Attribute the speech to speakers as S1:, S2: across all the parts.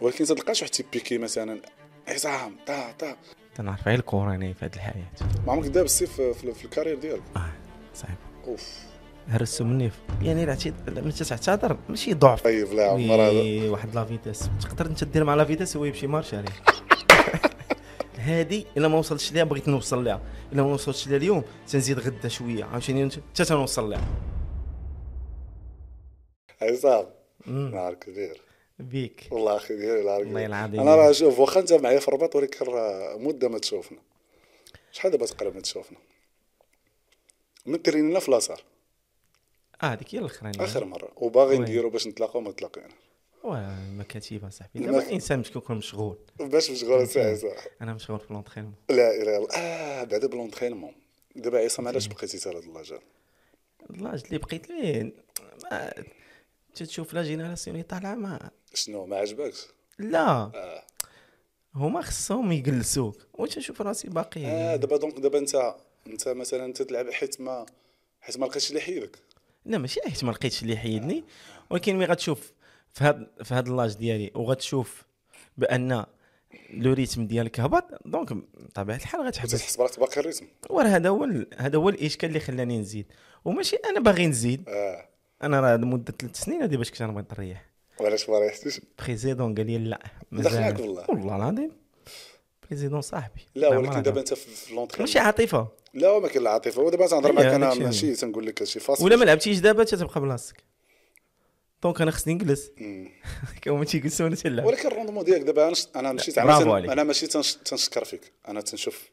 S1: ولكن تلقاش واحد تيبيكي "إيه، مثلا عصام طا طا
S2: تنعرف غير الكورة انا في هاد الحياة
S1: ما عمرك داب السيف في, في, في الكارير ديالك
S2: اه صعيبة
S1: اوف
S2: هرستو مني في- يعني راه تي- ملي تعتذر ماشي ضعف
S1: طيب لا عمر هذا
S2: وي، واحد لافيتاس تقدر انت دير مع لافيتاس هو يمشي مارش عليه هادي الا ما وصلتش ليها بغيت نوصل ليها الا ما وصلتش ليها اليوم تنزيد غدا شويه عاوتاني نت- حتى تنوصل ليها
S1: عصام
S2: مم.
S1: إيه، نهار كبير
S2: بيك
S1: والله اخي ديالي نهار
S2: والله
S1: كبير
S2: العظيم.
S1: انا راه شوف واخا انت معايا في الرباط ولكن راه مده ما تشوفنا شحال دابا تقريبا ما تشوفنا من ترينينا في لاصال
S2: اه هذيك هي الاخرانيه
S1: اخر مره وباغي
S2: وي.
S1: نديرو باش نتلاقاو ما تلاقينا
S2: واه المكاتيب صاحبي
S1: المك-
S2: دابا الانسان مش كيكون مشغول
S1: باش مشغول ساعه ساعه
S2: انا مشغول في لونترينمون
S1: لا اله الا الله اه بعدا بلونترينمون دابا عصام علاش بقيتي تال هاد اللاجال
S2: اللاج اللي بقيت ليه ما تشوف لا جينيراسيون طالعه ما
S1: شنو ما عجبكش
S2: لا
S1: اه
S2: هما خصهم يجلسوك وتنشوف راسي باقي
S1: اه دابا دونك دابا انت انت مثلا انت تلعب حيت ما حيت ما لقيتش اللي يحيدك
S2: لا ماشي حيت ما لقيتش اللي يحيدني ولكن ملي غتشوف في هاد في هاد اللاج ديالي وغتشوف بان لو ريتم ديالك هبط دونك بطبيعه الحال غتحبس
S1: تحس براسك باقي الريتم
S2: وراه هذا هو ال- هذا هو الاشكال اللي خلاني نزيد وماشي انا باغي نزيد
S1: اه
S2: انا راه مده ثلاث سنين هادي باش كنت انا بغيت نريح
S1: وعلاش ما ريحتيش
S2: بريزيدون قال لي لا
S1: دخلك
S2: مازال
S1: والله.
S2: والله العظيم بريزيدون صاحبي
S1: لا
S2: ما
S1: ولكن
S2: عمرها
S1: دابا
S2: دابا.
S1: انت في في لونترين
S2: ماشي عاطفه
S1: لا ما كاين لا عاطفه ودابا تنهضر
S2: أيوة،
S1: معك انا
S2: هادشي هو.
S1: ماشي تنقول لك شي فاصل
S2: ولا ما لعبتيش دابا تتبقى بلاصتك دونك انا خصني نجلس
S1: مم.
S2: كون ما تيجلسوا انا تنلعب
S1: ولكن الروندمون ديالك دابا انا ش- انا مشيت
S2: برافو
S1: عامة-
S2: عليك.
S1: انا ماشي تنش- تنشكر فيك انا تنشوف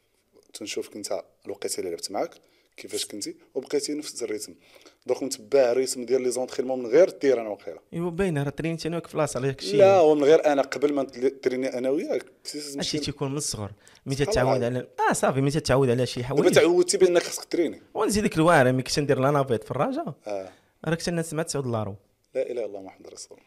S1: تنشوفك انت الوقيته اللي لعبت معاك كيفاش كنتي وبقيتي نفس الريتم دونك متبع الريتم ديال لي زونترينمون من غير التيران وقيله
S2: ايوا باينه راه ترينت انا وياك في لاصه على داك الشيء
S1: لا هو من غير انا قبل ما نتل- تريني انا وياك كنتي
S2: هادشي
S1: تمشي
S2: تيكون من الصغر ملي
S1: سبحان
S2: تتعود
S1: الله.
S2: على اه صافي ملي تتعود على شي
S1: دابا
S2: حوايج
S1: تعودتي بانك خاصك تريني
S2: ونزيدك الواعر ملي كنت ندير لانافيت في الرجاء
S1: آه.
S2: راه كنت نسمع 9 دولار
S1: لا اله الا الله محمد رسول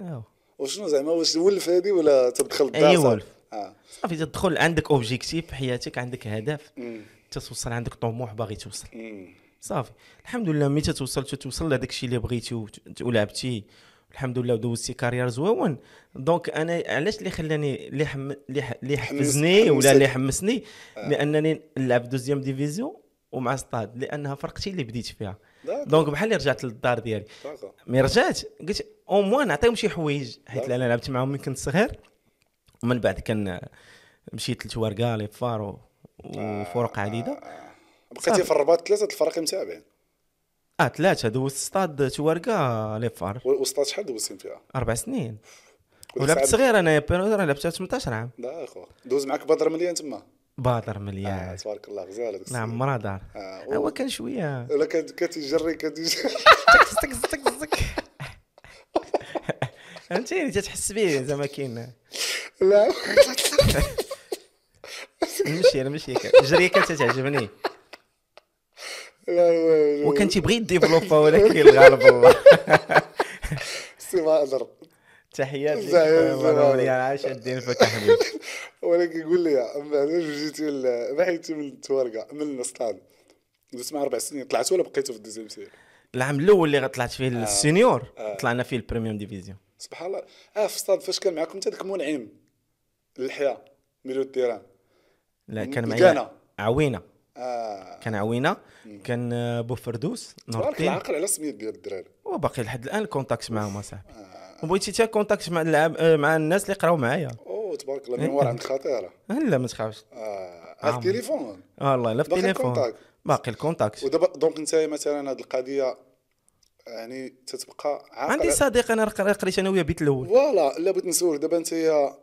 S1: الله
S2: أهو.
S1: وشنو زعما واش ولف هادي ولا تدخل الدار
S2: أي
S1: صافي؟
S2: ولف.
S1: اه
S2: صافي تدخل عندك اوبجيكتيف في حياتك عندك هدف
S1: مم.
S2: تتوصل عندك طموح باغي توصل
S1: مم.
S2: صافي الحمد لله ملي تتوصل تتوصل لهداك الشيء اللي بغيتي وت- ولعبتي الحمد لله ودوزتي كارير زويون دونك انا علاش اللي خلاني اللي حم... اللي ح- اللي حفزني ولا
S1: حمسك.
S2: اللي حمسني لانني نلعب دوزيام ديفيزيون ومع ستاد لانها فرقتي اللي بديت فيها
S1: داكو.
S2: دونك بحال اللي رجعت للدار ديالي
S1: داكو.
S2: مي رجعت قلت او موان نعطيهم شي حوايج حيت
S1: داكو.
S2: انا لعبت معاهم من كنت صغير ومن بعد كان مشيت لتوارقا لي فارو وفرق عديده
S1: بقيتي آه. في الرباط ثلاثه د الفرق متابعين
S2: اه ثلاثه دوزت ستاد توارقا لي فارو
S1: وسطات شحال دوزتي فيها
S2: اربع سنين
S1: وديك
S2: ولعبت
S1: الساعة-
S2: صغير انا بيرو راه لعبت 18 عام
S1: لا اخو دوز معاك بدر مليان تما
S2: باطر
S1: آه،
S2: مليان
S1: تبارك الله غزال هذاك
S2: نعم مرا دار
S1: آه، و-
S2: هو كان شويه
S1: لا كان كتجري كتجري
S2: تكس تكس تكس تكس فهمتيني تتحس به زعما كاين
S1: لا
S2: المشي المشي الجريه كانت تعجبني
S1: لا لا، لا
S2: وكان تيبغي يديفلوبا ولكن الغالب الله
S1: سي ما اضرب
S2: تحيات لك
S1: زعما-
S2: خويا
S1: زعما.
S2: مرا مليان عاش الدين فك حبيبي
S1: ولكن قول لي من بعد واش جيتي ل- بحيتي من التوارقه من الاسطاد دوزت مع اربع سنين طلعت ولا بقيتو في الدوزيام سير
S2: العام الاول اللي طلعت فيه
S1: آه.
S2: السينيور طلعنا فيه البريميوم ديفيزيون
S1: سبحان الله اه في الصاد فاش كان معاكم انت ذاك منعم اللحيه ميلو الديران
S2: لا كان
S1: مكانة.
S2: معايا عوينه
S1: اه
S2: كان عوينه كان آه، بوفردوس نور
S1: تبارك
S2: الدين
S1: العقل على سميت ديال الدراري
S2: وباقي لحد الان الكونتاكت معاهم اصاحبي
S1: آه.
S2: وبغيتي حتى كونتاكت مع اللعب آه، مع الناس اللي قراو معايا
S1: اوه تبارك الله ميموار عند خطيره
S2: لا ما تخافش
S1: اه على التليفون
S2: آه، الله لا في
S1: باقي
S2: التليفون
S1: الكونتاكت.
S2: باقي الكونتاكت
S1: ودابا دونك انت مثلا هذه القضيه يعني تتبقى عاقل
S2: عندي صديق انا رق- قريت انا وياه بيت الاول
S1: فوالا لا بغيت نسولك دابا انت يا-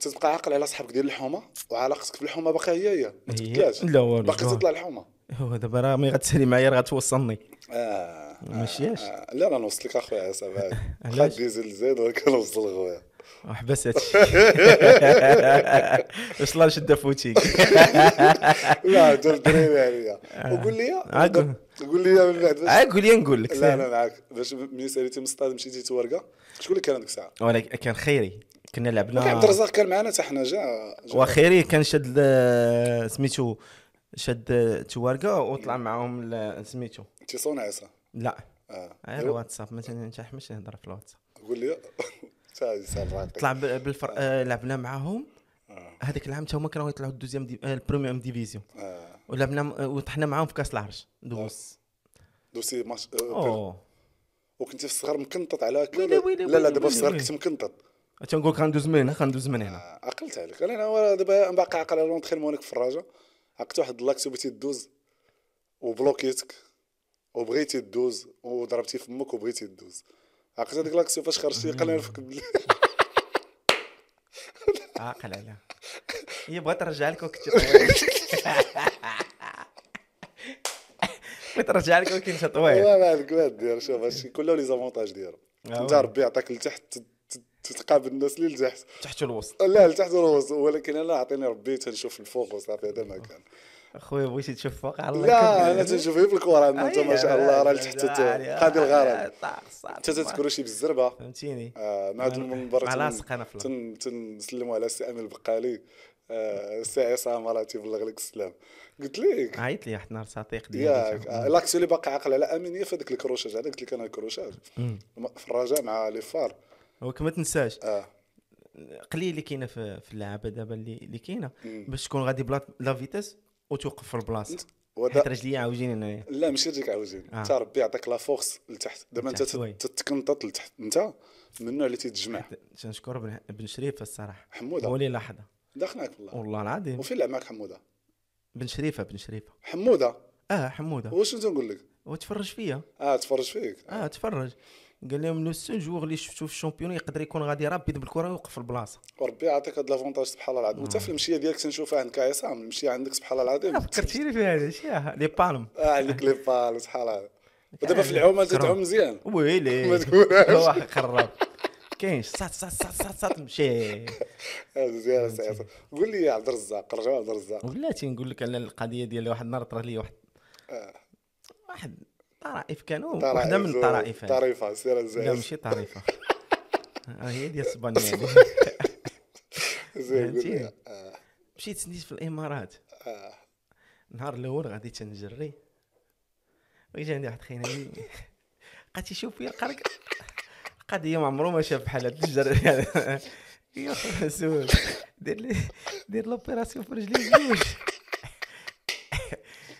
S1: تتبقى عاقل على صحابك ديال الحومه وعلاقتك في الحومه باقي هي هي ما
S2: هي-
S1: تبدلاش
S2: لا والو،
S1: باقي
S2: جوار.
S1: تطلع الحومه
S2: هو دابا راه مي غتسالي معايا راه غتوصلني
S1: اه
S2: ماشياش
S1: آه، لا لا نوصل لك اخويا عصام عادي خد
S2: علاش؟
S1: ديزل زايد ولكن نوصل خويا
S2: وحبس هادشي واش الله شده فوتيك
S1: لا جاب الدراري عليا وقول لي
S2: آه. عاقل.
S1: قول لي من بعد باش-
S2: عاد قول لي آه، نقول لك
S1: لا انا معاك باش ملي ساليتي من الصطاد مشيتي تورقه شكون اللي كان هذيك الساعه؟
S2: ولكن كان خيري كنا
S1: وكان عبد
S2: لعبنا
S1: الرزاق كان معنا حتى حنا جا جا-
S2: وخيري كان شاد ال- سميتو شاد توارقه وطلع معاهم ل- سميتو أيوه.
S1: تيصون عيسى
S2: إيه. لا
S1: اه
S2: غير
S1: إيوا،
S2: الواتساب مثلا انت حمش يهضر في الواتساب
S1: قول لي تاع يسال راقي
S2: طلع ب- بالفر آه، لعبنا معاهم هذاك العام تا هما كانوا يطلعوا الدوزيام دي... آه، البريميوم ديفيزيون
S1: اه
S2: ولعبنا م- آه، وطحنا معاهم في كاس العرش دوز
S1: دوسي ماتش آه،
S2: اوه
S1: وكنتي في الصغر مكنطط على هكا
S2: ويلي،
S1: ولا-
S2: ويلي،
S1: لا لا
S2: ويلي،
S1: دابا في الصغر
S2: ويلي،
S1: كنت مكنطط
S2: تنقول لك غندوز من هنا غندوز من هنا
S1: آه، عقلت عليك انا ورا دابا باقي عاقل على لونترينمون هناك في الراجا عقلت واحد اللاكس وبغيتي دوز وبلوكيتك وبغيتي دوز وضربتي فمك وبغيتي دوز عقلت هذيك لاكسو فاش خرجتي قال لي نفك بلي
S2: عاقل عليها هي بغات ترجع إيه، لك وكنت بغات ترجع لك وكنت طويل
S1: والله ما عندك ما دير شوف هادشي كله لي زافونتاج ديالو
S2: طيب. آه،
S1: انت
S2: وي.
S1: ربي يعطيك لتحت ت- ت- تتقابل الناس اللي لتحت
S2: تحت الوسط
S1: لا لتحت الوسط ولكن انا عطيني ربي تنشوف الفوق وصافي هذا ما كان
S2: اخويا بغيتي تشوف فوق على الله أيوة،
S1: لا
S2: يكمل.
S1: انا تنشوف غير في الكره أنا انت ما
S2: أي،
S1: شاء الله راه لتحت
S2: آه،
S1: قادي الغرض
S2: طاق، صاط،
S1: انت تذكر شي بالزربه
S2: فهمتيني
S1: آه مع هاد المنبر
S2: ملاصق أنا في الأرض.
S1: تن تنسلموا على السي امين البقالي آه السي عصام مراتي بلغ لك السلام قلت ليك
S2: عيط لي واحد النهار صديق ديالي
S1: ياك آه، لاكس اللي باقي عاقل على امينيه في هذاك الكروشاج هذاك اللي كان الكروشاج في الرجاء مع لي فار
S2: وك ما تنساش
S1: اه
S2: قليل اللي كاينه في في اللعابه دابا اللي اللي كاينه
S1: مم.
S2: باش تكون غادي بلا لا فيتاس وتوقف في البلاصه
S1: ودا-
S2: حيت رجليا عوجين انايا
S1: لا ماشي تجيك عاوزين
S2: آه.
S1: انت ربي يعطيك لا فورس لتحت دابا انت
S2: لتحت، وي.
S1: تت- تتكنطط لتحت انت من النوع اللي تيتجمع
S2: تنشكر بن- بن شريفه الصراحه
S1: حمودة.
S2: هو اللي لاحظها
S1: داخناك بالله
S2: والله العظيم
S1: وفين لعب معك حموده
S2: بن شريفه بن شريفه
S1: حموده
S2: اه حموده
S1: واش نقول لك
S2: وتفرج فيا
S1: اه تفرج فيك
S2: اه تفرج قال لهم لو سول جوغ اللي شفتو في الشامبيون يقدر يكون غادي رابيد بالكره ويوقف في البلاصه
S1: وربي يعطيك هاد لافونتاج سبحان الله العظيم وانت في المشيه ديالك تنشوفها عندك عصام المشيه عندك سبحان الله
S2: انا
S1: العظيم
S2: فكرتيني في هذا الشيء لي بالم
S1: اه عندك لي بال سبحان الله ودابا في العومه تدعم مزيان
S2: ويلي
S1: ما تقولهاش.
S2: واحد خراب كاينش صات صات صات صات صات مشي
S1: آه، مزيان سي عصام قول لي يا عبد الرزاق رجع عبد الرزاق
S2: ولاتي نقول لك على القضيه ديال واحد النهار طرا لي واحد
S1: آه،
S2: واحد طرائف كانوا
S1: طرائف
S2: وحده من
S1: زو-
S2: الطرائف هذه.
S1: طريفه سير
S2: لا
S1: مزيان
S2: ماشي طريفه آه، هي ديال اسبانيا هذه.
S1: مزيان قول لي
S2: فهمتي؟
S1: آه،
S2: مشيت سنيت في الامارات
S1: آه.
S2: النهار الاول غادي تنجري ويجي عندي واحد خينا لي- بقى تيشوف فيا لقى لك القضيه ما عمرو ما شاف بحال هاد الجر يا خويا سول دير لي دير لوبيراسيون في رجلي زوج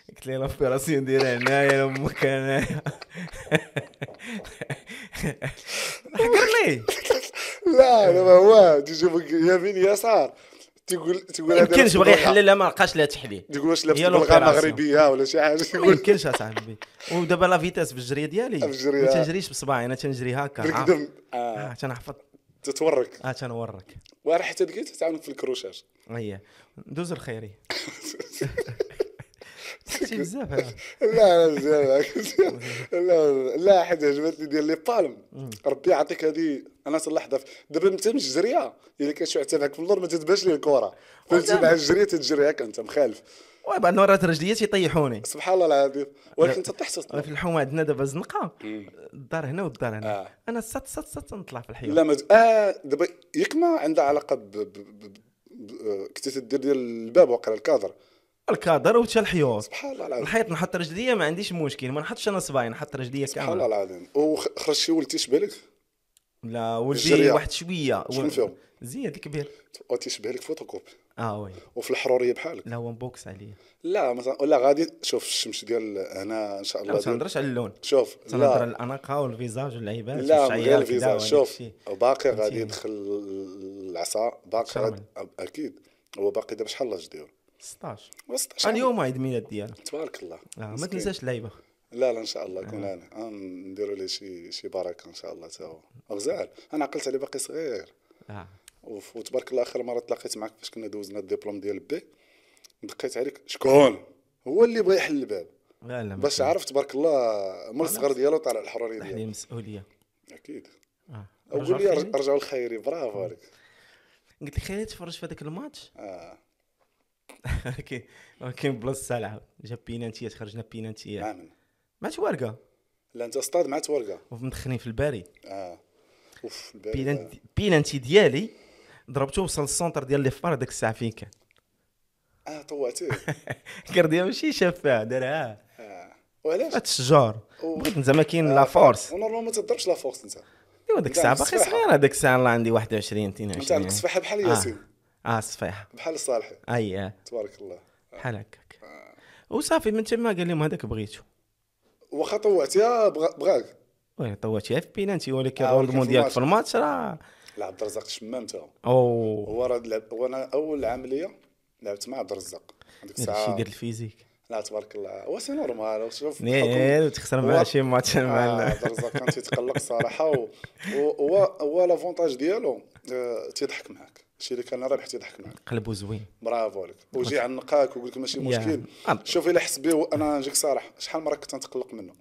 S2: قلت لي لوبيراسيون ديرها هنايا امك هنايا حكر لي
S1: لا دابا هو تيشوفك يمين يسار تيقول تيقول
S2: ما
S1: هذا
S2: يمكنش
S1: لابس
S2: بغى
S1: بلغة.
S2: يحللها ما لقاش لها تحليل
S1: تقول واش
S2: هي
S1: لابس بلغه
S2: الأوبيراسيون.
S1: مغربيه ولا شي حاجه
S2: ما
S1: تقول
S2: يمكنش اصاحبي ودابا لا فيتاس في الجريه ديالي
S1: في آه. الجرية.
S2: ما تنجريش بصباعي انا تنجري هكا عارف.
S1: بالقدم آه،
S2: اه تنحفظ
S1: تتورك
S2: اه تنورك
S1: وراه حتى لقيت تعاونك في الكروشاج
S2: هي دوز الخيري سكتي بزاف هذا
S1: لا لا مزيان معاك، مزيان. لا لا حاجه عجبتني ديال لي بالم ربي يعطيك هذه انا تلاحظها في- دابا انت مش جريه الا كان شي واحد تابعك في اللور ما تتبانش ليه الكره فهمتي
S2: وزعما.
S1: مع الجريه تتجري هكا انت مخالف
S2: وبعض المرات رجليا تيطيحوني
S1: سبحان الله العظيم ولكن انت طحت
S2: أنا في الحومه عندنا دابا زنقه
S1: مم.
S2: الدار هنا والدار
S1: آه.
S2: هنا انا سات سات سات نطلع في الحيوط
S1: لا ما ت- اه دابا ياك ما عندها علاقه ب ب- ب- ب- ب- كنتي تدير ديال الباب وقرا الكادر
S2: الكادر وتا الحيوط
S1: سبحان الله العظيم
S2: الحيط نحط رجليا ما عنديش مشكل ما نحطش انا صباعي نحط رجليا
S1: سبحان الله
S2: كامله
S1: العظيم وخرجتي ولدتي شبه لك
S2: لا
S1: الجرية.
S2: ولدي واحد شويه
S1: شكون فيهم؟
S2: زياد الكبير
S1: تيشبه لك فوتوكوبي
S2: اه وي
S1: وفي الحروريه بحالك
S2: لا هو مبوكس عليا
S1: لا مثلا ولا غادي شوف الشمس ديال هنا ان شاء
S2: لا ما
S1: الله ديال-
S2: تنهضرش على اللون
S1: شوف
S2: تنهضر على
S1: لا
S2: الاناقه والفيزاج والعيبات
S1: لا من
S2: والشعيرات
S1: غير
S2: وكدا
S1: الفيزا
S2: وهداك
S1: شوف
S2: الشيء.
S1: باقي غادي
S2: فهمتيني.
S1: يدخل العصا باقي غادي اكيد هو باقي دابا شحال لاج ديالو
S2: 16
S1: 16
S2: اليوم عيد ميلاد ديالها
S1: تبارك الله
S2: آه ما
S1: مسكين.
S2: تنساش آه. اللعيبه
S1: لا لا ان شاء الله يكون انا نديروا ليه شي شي بركه ان شاء الله تا هو غزال انا عقلت عليه باقي صغير
S2: آه.
S1: وف- وتبارك الله اخر مره تلاقيت معك فاش كنا دوزنا الدبلوم ديال بي دقيت عليك شكون هو اللي بغى يحل الباب
S2: لا لا
S1: باش
S2: عارف
S1: عرفت تبارك الله من الصغر ديالو طالع الحروري
S2: عليه
S1: ديالو
S2: مسؤوليه
S1: اكيد
S2: آه.
S1: اقول لي
S2: رجعوا
S1: رج- رجعوا الخيري برافو عليك
S2: قلت لك خليني تفرج في هذاك الماتش
S1: اه
S2: كاين كاين بلاصه سالعه جاب بينانتيات خرجنا بينانتيات
S1: امن
S2: مع توارقه
S1: لا انت اصطاد مع تورقه
S2: ومدخلين في الباري
S1: اه اوف البارد.
S2: بينانتي, بينانتي ديالي ضربته وصل السونتر ديال لي فار ديك الساعه فين كان
S1: اه طوعتيه
S2: كرديه ماشي شاف فيها دارها
S1: اه وعلاش
S2: فات الشجار
S1: أوه.
S2: بغيت زعما
S1: آه.
S2: كاين لا فورس
S1: ونورمالمون ما تضربش لا فورس انت
S2: ايوا ديك
S1: أنت عندك
S2: الساعه باقي
S1: السفاحة.
S2: صغير هذاك الساعه الله عندي 21
S1: انت عندك
S2: 22
S1: صفحه بحال
S2: آه.
S1: ياسين
S2: اه الصفيحه
S1: بحال صالحي
S2: اي آه.
S1: تبارك الله
S2: بحال هكاك
S1: آه.
S2: وصافي من تما قال لهم هذاك بغيتو
S1: واخا طوعتيها بغا- بغاك
S2: وي طواتيها في بينانتي ولكن
S1: آه،
S2: الروندمون
S1: ولكن في
S2: ديالك في الماتش راه
S1: لا عبد الرزاق شمام تا
S2: او
S1: هو راه لعب هو انا اول عمليه لعبت مع عبد الرزاق هذيك
S2: هادشي
S1: الساعه
S2: ديال الفيزيك
S1: لا تبارك الله هو سي نورمال شوف الحكم-
S2: نيل تخسر
S1: هو-
S2: مع شي ماتش
S1: آه،
S2: مع
S1: عبد الرزاق كان تيتقلق صراحه و- و- هو هو لافونتاج ديالو آه، تيضحك معاك الشيء اللي كان رابح تيضحك معاك
S2: قلبو زوين
S1: برافو عليك ويجي عنقاك ويقول لك ماشي
S2: يا.
S1: مشكل
S2: آه.
S1: شوف الا حس به انا نجيك صراحه شحال مره كنت نتقلق منه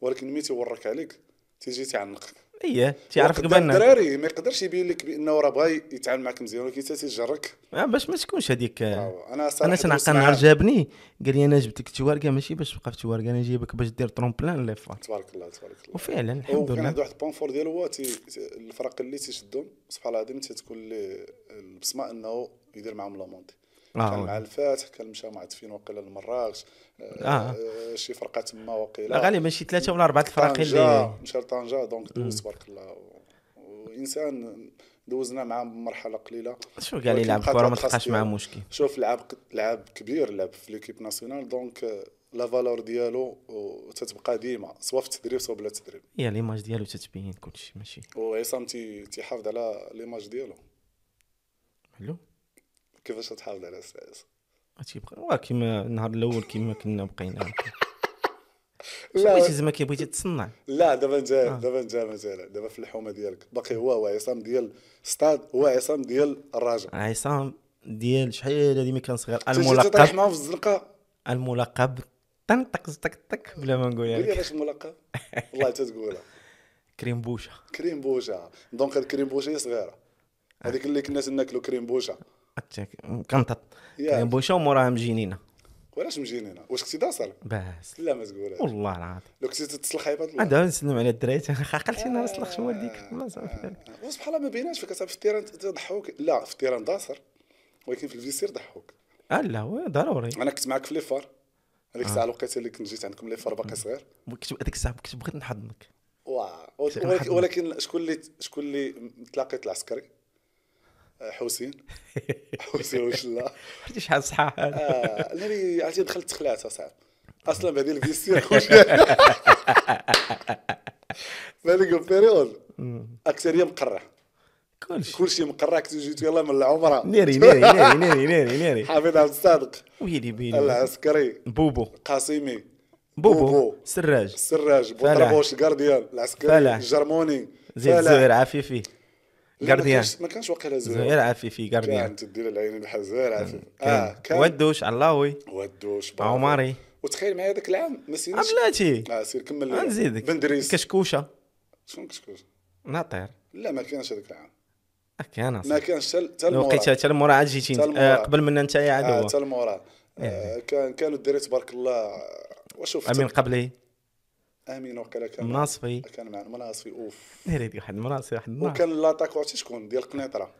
S1: ولكن ملي تيورك عليك تيجي تيعنقك
S2: ايه تيعرفك
S1: وقدام
S2: بان
S1: الدراري ما يقدرش يبين لك بانه راه بغا يتعامل معك مزيان ولكن حتى تيجرك
S2: آه، باش ما تكونش هذيك آه،
S1: برافو. انا صراحه
S2: انا
S1: دوزت
S2: تنعقل
S1: معاه.
S2: نهار جابني قال لي انا جبتك تيواركا ماشي باش تبقى في تيواركا انا جايبك باش دير ترومبلان لي فار
S1: تبارك الله تبارك الله
S2: وفعلا الحمد
S1: وكان
S2: لله
S1: عنده واحد البون فور ديالو هو تي تي- الفرق اللي تيشدهم سبحان الله العظيم تتكون ليه البصمه انه يدير معاهم لامونتي
S2: آه،
S1: كان
S2: وي.
S1: مع الفاتح كان مشى مع تفين وقيلا لمراكش
S2: آه.
S1: آه، شي فرقه تما وقيلا
S2: لا غالبا شي ثلاثه ولا اربعه الفراقي
S1: طنجة،
S2: اللي
S1: مشى لطنجة دونك دوز تبارك الله و- وانسان دوزنا معاه مرحله قليله
S2: شو قال لي
S1: ولكن
S2: يلعب
S1: بقات
S2: كره ما
S1: الخاص
S2: تلقاش
S1: ديالو.
S2: معاه مشكل
S1: شوف لعب لعب كبير لعب في ليكيب ناسيونال دونك آه، لا فالور ديالو آه، تتبقى ديما سواء في التدريب سواء بلا تدريب
S2: هي ليماج ديالو تتبين كلشي ماشي
S1: وعصام تي- تيحافظ على ليماج ديالو
S2: حلو
S1: كيفاش تحافظ على الساس
S2: تيبقى وا كيما النهار الاول كيما كنا بقينا هكا.
S1: لا
S2: ماشي زعما كي بغيتي تصنع
S1: لا دابا نجا
S2: آه.
S1: دابا نجا مازال دابا في الحومه ديالك باقي هو هو عصام ديال ستاد هو عصام ديال الرجاء
S2: عصام ديال شحال هذه ملي كان صغير
S1: تجي تطيح
S2: الملقب
S1: معاه في الزنقه
S2: الملقب طنطق طق طق بلا ما نقول
S1: قول لي
S2: لك
S1: علاش الملقب والله تتقولها
S2: كريم بوشه
S1: كريم بوجه دونك هاد كريم بوجه هي صغيره هذيك اللي كنا تناكلو كريم بوجه
S2: أتاك- كنطط
S1: ياك.
S2: كريم بوشه وموراها مجينينا
S1: وعلاش مجينا هنا واش كنتي داصر
S2: باس
S1: لا ما تقولها
S2: والله العظيم
S1: لو كنتي تتصل خايبات الله
S2: هذا نسلم على الدراري خاقلتي انا نسلخ شنو ديك والله صافي ذلك
S1: آه، وسبحان الله ما بيناش فيك صافي في التيران تضحوك لا في التيران داصر ولكن في الفيسير ضحوك
S2: اه لا هو ضروري
S1: انا كنت معاك في ليفار هذيك الساعه الوقيته اللي كنت جيت عندكم ليفار باقي صغير
S2: كنت هذيك الساعه كنت بغيت نحضنك
S1: واه
S2: شي
S1: ولكن,
S2: واحد-
S1: ولكن شكون اللي شكون اللي تلاقيت العسكري آه، حسين حسين واش لا
S2: عرفتي شحال صحاح هذا
S1: آه، اللي عرفتي دخلت تخلعت اصاحبي اصلا بهذه الفيسير يعني؟ بهذيك البيريود اكثريه مقرع
S2: كلشي
S1: كلشي مقرع كنت جيت يلاه من العمره
S2: ناري ناري ناري ناري ناري ناري
S1: حافظ عبد الصادق
S2: ويلي بيلي
S1: العسكري
S2: بوبو
S1: قاسمي
S2: بوبو
S1: بوبو.
S2: سراج
S1: السراج
S2: فلاح.
S1: بوطربوش الكارديان العسكري
S2: فلاح.
S1: الجرموني
S2: زيد
S1: فلاح.
S2: زوير عفيفي
S1: لا، ما
S2: غارديان
S1: كانش- ما كانش واقيلا
S2: زوير
S1: زوير
S2: عفيفي غارديان
S1: كان تدير العين بحال زوير عفيف اه
S2: كان
S1: كان
S2: ودوش علاوي
S1: ودوش برافو.
S2: عمري
S1: وتخيل معايا ذاك العام ما سيناش
S2: بلاتي
S1: اه سير كمل لي.
S2: نزيدك
S1: بندريس
S2: كشكوشه
S1: شنو كشكوش
S2: ناطير
S1: لا ما كانش هذاك العام
S2: هاك انا
S1: ما كانش حتى حتى
S2: لقيت
S1: المورا
S2: حتى المورا عاد جيتي
S1: تا
S2: انت-
S1: المورا.
S2: آه، قبل من انت يا
S1: آه،
S2: عدو
S1: حتى المورا
S2: إيه.
S1: آه، كان كانوا الدراري تبارك الله وشوف
S2: امين قبلي
S1: امين وقيلا كان
S2: مناصفي
S1: كان معنا مناصفي اوف
S2: ناري ديك واحد مناصفي واحد النهار
S1: وكان لاطاك عرفتي شكون ديال قنيطره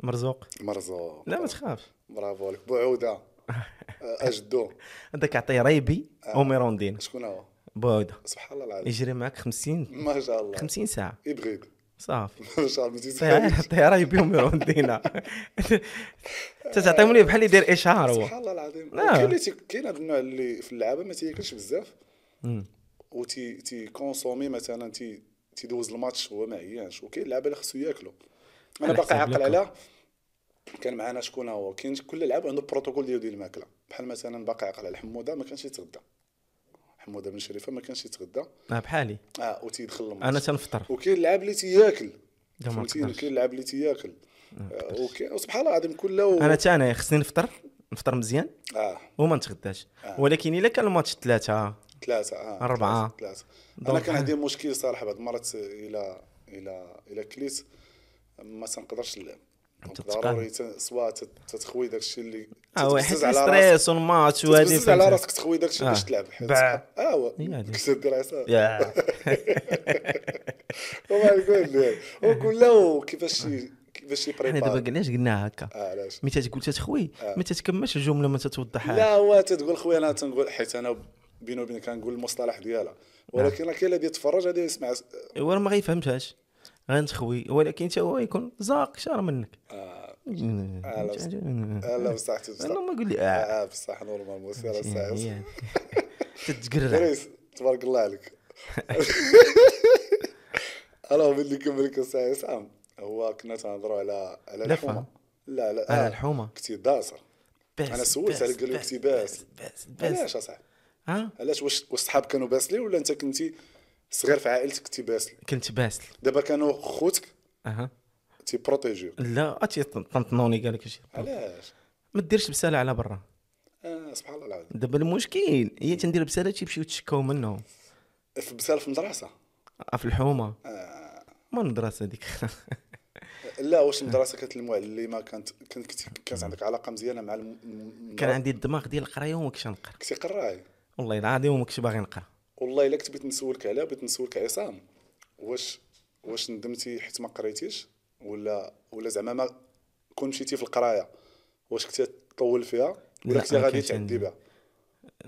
S2: مرزوق
S1: مرزوق
S2: لا ما تخافش
S1: برافو عليك بوعوده آه، اجدو
S2: هذاك عطيه ريبي وميروندين
S1: شكون هو
S2: بوده
S1: سبحان الله العظيم
S2: يجري معك 50
S1: ما شاء الله
S2: 50 ساعه
S1: يبغيد
S2: صافي
S1: ما شاء الله ما تيزهقش.
S2: عطيه ريبي وميروندين تعطيهم لي بحال اللي داير اشهار هو
S1: سبحان الله العظيم
S2: لا.
S1: كاين اللي تي- كاين هذا النوع اللي في اللعابه ما تياكلش بزاف
S2: مم.
S1: وتي تي كونسومي مثلا تي تيدوز الماتش هو ما عيانش وكاين لعابه اللي خصو ياكلوا انا
S2: على
S1: باقي
S2: حساب
S1: عاقل
S2: الأكل.
S1: على كان معنا شكون هو كاين كل لعاب عنده بروتوكول ديالو ديال الماكله بحال مثلا باقي عاقل على حموده ما كانش يتغدى حموده بن شريفه ما كانش يتغدى
S2: آه، بحالي
S1: اه وتيدخل الماتش
S2: انا تنفطر
S1: وكاين لعاب اللي تياكل
S2: لا ما
S1: فهمتيني
S2: نقدرش.
S1: كاين لعاب اللي تياكل آه، وكاين- وسبحان الله العظيم كله و...
S2: انا تا انا خصني نفطر نفطر مزيان
S1: اه
S2: وما نتغداش
S1: آه.
S2: ولكن الا كان الماتش ثلاثه
S1: ثلاثة آه.
S2: أربعة.
S1: ثلاثة أنا
S2: دونك
S1: كان
S2: أنا-
S1: عندي مشكل صراحة بعض المرات إلى إلى إلى كليت ما تنقدرش نلعب دونك
S2: تتقان.
S1: ضروري ت- سوا تت- تتخوي داك الشيء اللي
S2: اه وي، حيت
S1: تتبزز على راسك
S2: ستريس والماتش وهذه
S1: تتبزز على
S2: فهمت.
S1: راسك تخوي داك الشيء
S2: آه.
S1: باش تلعب حيت
S2: باع.
S1: سبحان- اه وي.
S2: هي هذيك.
S1: كنت دير عصا
S2: يا
S1: Oh وما يقول لي وكله Oh، كيفاش شي- باش
S2: حنا
S1: يبريبار
S2: آه. دابا علاش قلناها هكا
S1: آه، علاش
S2: ملي تتقول تتخوي ما تتكملش الجمله ما تتوضحها
S1: لا هو تتقول خويا انا تنقول حيت انا بيني وبينك كنقول المصطلح ديالها ولكن راه كاين اللي يتفرج غادي يسمع
S2: هو راه ما غيفهمتهاش غنتخوي ولكن حتى هو يكون زاق شار منك
S1: آه، بس-
S2: انا
S1: لا بصح تبصح
S2: ما يقول لي اه
S1: اه بصح نورمال موسيرة ساعه
S2: يعني- تتقرع
S1: دريس تبارك الله عليك انا ملي كمل كنساعي سام هو كنا تنهضروا على على
S2: لفة.
S1: الحومه لا لا
S2: على
S1: آه،
S2: الحومة.
S1: كنتي داسه
S2: باس
S1: أنا سولت
S2: باس
S1: على قال لي
S2: باس
S1: كنتي باس.
S2: باس باس
S1: علاش اصاحبي
S2: ها
S1: علاش واش واش صحاب كانوا باسلين ولا انت كنتي صغير في عائلتك كنتي باسل
S2: كنت باسل
S1: دابا كانوا خوتك
S2: اها
S1: تيبروتيجيو
S2: لا اتي طنطنوني قال لك شي
S1: علاش
S2: ما ديرش بساله على برا
S1: آه سبحان الله العظيم
S2: دابا المشكل هي تندير بساله تيمشيو تشكاو منهم
S1: في بسال في المدرسه
S2: آه، في الحومه
S1: آه.
S2: ما المدرسه ديك
S1: لا واش المدرسه كانت المعلمه كانت كنت كنت- كانت عندك علاقه مزيانه مع الم... الم-
S2: كان عندي الدماغ ديال القرايه وما كنتش نقرا
S1: كنتي قراي
S2: والله العظيم وما كنتش باغي نقرا
S1: والله الا كنت بغيت نسولك عليها بغيت نسولك عصام واش واش ندمتي حيت ما قريتيش ولا ولا زعما ما كون مشيتي في القرايه واش كنتي تطول فيها
S2: لا،
S1: ولا كنتي
S2: ما
S1: غادي
S2: كانش
S1: تعدي
S2: عندي.
S1: بها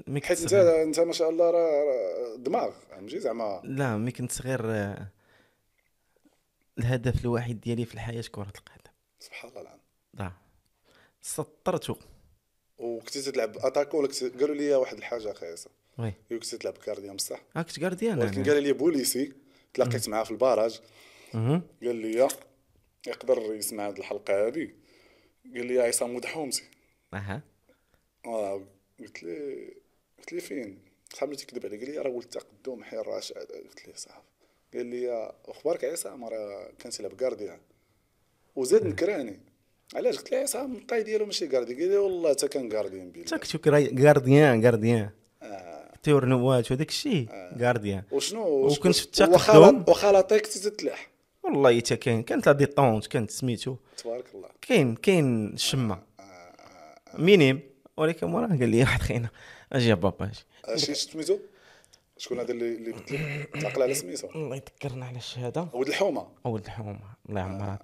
S2: مي
S1: حيت
S2: كنت
S1: انت
S2: صغير-
S1: انت ما شاء الله راه راه دماغ فهمتي زعما
S2: لا مي كنت صغير آه، الهدف الوحيد ديالي في الحياه كره القدم
S1: سبحان الله العظيم
S2: لا سطرته
S1: وكنتي تلعب اتاكو ولا كنتي قالوا لي واحد الحاجه اخي عصام
S2: وي
S1: يو كنتي تلعب كارديان بصح
S2: ها كنت غارديان
S1: ولكن
S2: انا
S1: قال لي بوليسي تلاقيت معاه في الباراج
S2: مهم.
S1: قال لي يقدر يسمع هذه الحلقه هذه قال لي يا عصام ود حومتي
S2: اها
S1: آه، قلت لي قلت لي فين صاحبي تكذب علي قال لي راه ولد تقدم حي الراشد قلت لي صاحب قال لي اخبارك عصام راه كان تيلعب كارديان وزاد نكراني علاش قلت له عصام الطاي ديالو ماشي كاردي قال لي والله حتى كان كارديان
S2: انت
S1: بالله
S2: كنت غارديان غارديان
S1: آه.
S2: تيور نوات وداك الشيء غارديان
S1: وشنو
S2: وكنت
S1: وش-
S2: تاخذهم؟
S1: وخلاط- وخلاطيك تتلح
S2: والله حتى كاين كانت لا ديطونت كانت سميتو
S1: تبارك الله آه،
S2: كاين كاين الشمه مينيم ولكن موراه قال لي واحد خينا اجي يا بابا اجي
S1: شي سميتو شكون هذا اللي اللي قلت لك تعقل على سميتو
S2: الله يذكرنا على الشهاده
S1: ولد الحومه
S2: اول الحومه الله يعمرها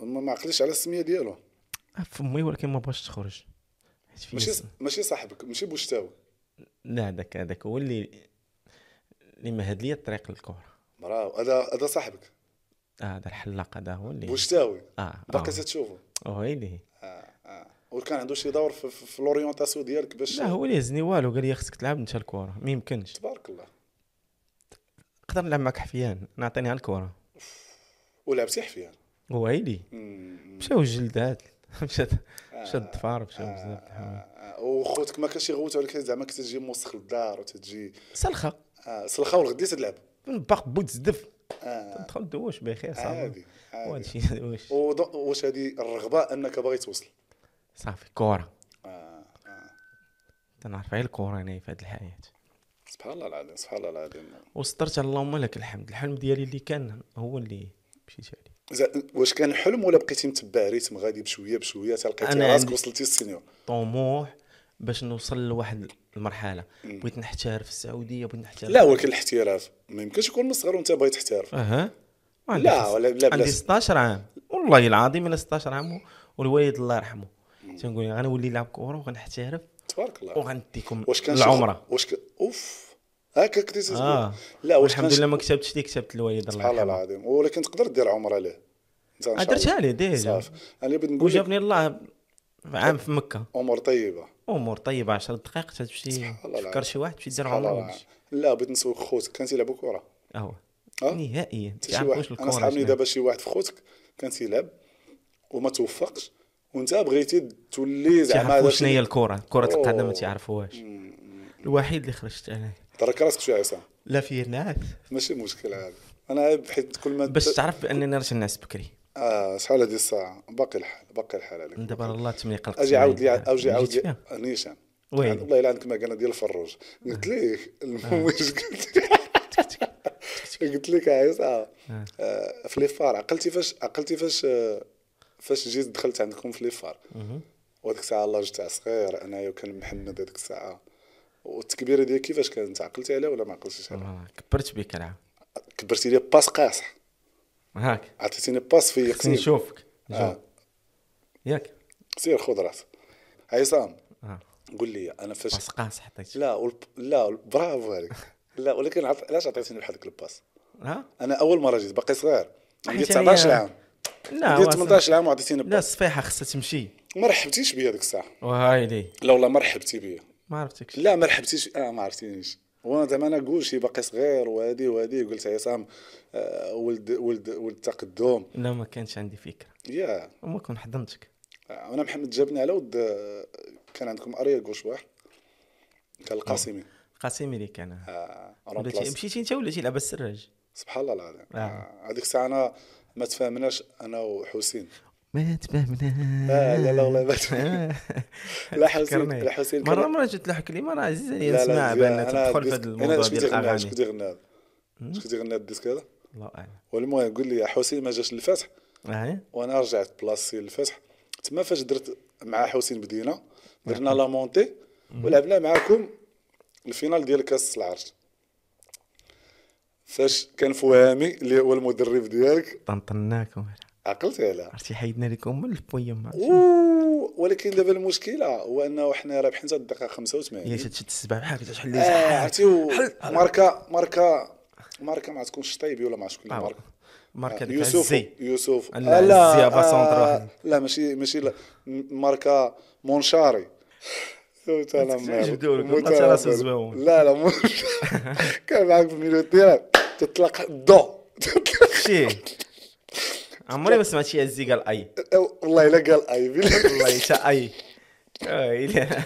S1: ما ما عقليش على السميه ديالو
S2: فمي ولكن ما بغاش تخرج حيت فيا
S1: ماشي
S2: سم-
S1: ماشي صاحبك ماشي بوشتاوي
S2: لا هذاك هذاك هو اللي اللي مهد لي الطريق للكره
S1: برافو هذا هذا صاحبك
S2: آه، هذا الحلاق هذا هو اللي
S1: بوشتاوي
S2: اه
S1: باقي تتشوفه
S2: ويلي
S1: آه آه وكان عنده شي دور في, في, في لوريونتاسيون ديالك باش
S2: لا هو اللي هزني والو قال لي خصك تلعب انت الكره ما يمكنش
S1: تبارك الله
S2: نقدر نلعب معك حفيان نعطيني الكره
S1: ولعبتي حفيان
S2: ويلي
S1: مم.
S2: مشاو الجلدات مشات مشات الضفار مشاو بزاف د
S1: آه،
S2: الحوايج
S1: آه، وخوتك ما كانش يغوتوا عليك زعما كنت تجي موسخ للدار وتجي
S2: سلخه
S1: آه سلخه والغدي تلعب
S2: باق بوت زدف
S1: آه
S2: تدخل دوش بخير صافي
S1: عادي عادي
S2: وهادشي دوش
S1: وض- واش هذه الرغبه انك باغي توصل
S2: صافي كره
S1: آه آه
S2: تنعرف غير الكره انا في هاد الحياه
S1: سبحان الله العظيم سبحان الله العظيم
S2: وسترت اللهم لك الحمد الحلم ديالي اللي كان هو اللي مشيت عليه
S1: زا- واش كان حلم ولا بقيتي متبع ريتم غادي بشويه بشويه تلقيتي
S2: أنا
S1: راسك
S2: عندي-
S1: وصلتي السينيور
S2: طموح باش نوصل لواحد المرحله بغيت نحترف في السعوديه بغيت نحترف
S1: لا ولكن الاحتراف ما يمكنش يكون من الصغر وانت باغي تحترف
S2: اها ما عندي
S1: لا
S2: خص-
S1: ولا لا
S2: عندي
S1: بلاش
S2: 16 عام والله العظيم انا 16 عام والوالد الله يرحمه تنقول لي غنولي نلعب كره وغنحترف
S1: تبارك الله
S2: وغنديكم
S1: واش كان شي
S2: العمره
S1: خ- واش ك... اوف هكا كنتي تتقول
S2: اه
S1: لا واش كان
S2: الحمد
S1: شي-
S2: لله ما كتبتش لي كتبت الوالد الله
S1: سبحان الله
S2: يرحمه
S1: العظيم ولكن تقدر دير عمره ليه انت ان
S2: آه،
S1: شاء
S2: درتها
S1: الله.
S2: لي ديجا
S1: صافي انا اللي بغيت نقول لك
S2: وجابني الله عام في مكه
S1: امور طيبه
S2: امور طيبه 10 دقائق تمشي
S1: الله
S2: تفكر شي واحد تمشي دير
S1: سبحان
S2: عمره
S1: الله
S2: ويمشي
S1: لا بغيت نسولك خوتك كان تيلعبوا كره
S2: اهو إيه.
S1: آه.
S2: نهائيا ما
S1: حتى شي واحد انا
S2: تعرفوش الكره
S1: صحابني
S2: شنو.
S1: دابا شي واحد في خوتك كان تيلعب وما توفقش وانت بغيتي تولي زعما
S2: تعرفوا
S1: هذا
S2: شنو هي
S1: شي-
S2: الكره كره القدم ما
S1: أوه.
S2: تعرفوهاش الوحيد اللي خرجت انا
S1: ترك راسك شويه عصام
S2: لا في نعس
S1: ماشي مشكل هذا انا عيب حيت كل ما
S2: باش تعرف بانني راه نعس بكري
S1: اه شحال هذه الساعه باقي الحال باقي الحال عليك
S2: دابا راه الله تملي قلق
S1: اجي عاود لي
S2: عليا.
S1: اجي عاود
S2: جيت
S1: لي
S2: فيها.
S1: نيشان
S2: وي.
S1: عن- والله الا عندك مكانه ديال الفروج قلت لك
S2: آه.
S1: المهم واش قلت قلت لك عايز اه آه، في لي فار عقلتي فاش عقلتي فاش آه، فاش جيت دخلت عندكم في لي فار وهذيك الساعه الله جيت صغير انايا وكان محمد هذيك الساعه والتكبيره ديال كيفاش كانت عقلتي عليها ولا ما عقلتيش عليها
S2: آه، كبرت بك راه
S1: كبرتي لي باس قاصح
S2: هاك
S1: عطيتيني باس في
S2: خصني
S1: قتيل
S2: نشوفك
S1: آه.
S2: جو. ياك
S1: سير خذ راسك عصام
S2: آه.
S1: قول لي انا فاش
S2: باس قاس حطيت
S1: لا والب... لا وال- برافو عليك لا ولكن عط... علاش عطيتيني بحال هذاك الباس
S2: ها
S1: انا اول مره جيت باقي صغير عندي
S2: حيت
S1: 19
S2: عليا-
S1: عام
S2: لا
S1: عندي
S2: آه، واصل.
S1: 18 عام وعطيتيني
S2: لا
S1: باس
S2: الصفيحه خصها تمشي
S1: ما رحبتيش بيا ديك الساعه
S2: وهايلي
S1: لا والله ما رحبتي بيا
S2: ما عرفتكش
S1: لا ما رحبتيش اه ما عرفتينيش وانا زعما انا قول شي باقي صغير وهادي وهادي قلت عصام آه، ولد ولد ولد تقدم
S2: لا ما كانش عندي فكره
S1: يا
S2: وما كون حضنتك
S1: آه، انا محمد جابني على ود آه، كان عندكم اريا كوش واحد كان القاسمي
S2: قاسمي اللي كان ها.
S1: آه،
S2: بديتي-
S1: رامبلاس
S2: مشيتي انت ولا شي لعبه السراج
S1: سبحان الله العظيم
S2: آه.
S1: آه، هذيك الساعه انا ما تفاهمناش انا وحسين
S2: ما تبهمنا
S1: لا آه، لا لا والله ما
S2: آه.
S1: لا حسين
S2: فكرني.
S1: لا حسين
S2: مره
S1: كان-
S2: مره جات لك كلمه راه عزيز
S1: لا، لا،
S2: عليا نسمع
S1: زيان.
S2: بان
S1: أنا
S2: تدخل في
S1: الديسك-
S2: هذا الموضوع
S1: انا شكون
S2: ديال
S1: تيغنى شكون تيغنى
S2: الاغاني
S1: هذا شكون تيغنى هذا الديسك هذا
S2: الله اعلم
S1: والمهم قول لي حسين ما جاش الفتح
S2: آه.
S1: وانا رجعت بلاصتي للفتح تما فاش درت مع حسين بدينا درنا لا مونتي ولعبنا معاكم الفينال ديال كاس العرش فاش كان فوهامي اللي هو المدرب ديالك
S2: طنطناكم
S1: عقلت عليها
S2: عرفتي حيدنا لكم من البويم
S1: أوه، ولكن دابا المشكله هو انه حنا رابحين حتى الدقيقه 85
S2: يا تشد السبع بحال هكا تحل لي
S1: آه،
S2: زحاك.
S1: عرفتي و- ماركا ماركا ماركا ما تكونش طيبي ولا ما عرفت شكون
S2: آه،
S1: اللي ماركا
S2: ماركا ديك
S1: يوسف
S2: عزي
S1: يوسف
S2: لا،
S1: آه،
S2: عزي أبا سونتر واحد.
S1: لا ماشي ماشي لا م- ماركا مونشاري فهمت أنا
S2: تكتبش
S1: مال.
S2: جبدوا لك،
S1: فهمت
S2: والله
S1: أنا
S2: راسه
S1: مال.
S2: زباون.
S1: لا لا مونشاري كان معاك في الميليو ديالك تطلق دو
S2: شي عمري ما سمعت شي عزي قال اي
S1: والله الا قال اي بالله.
S2: والله تا اي آه، إلا.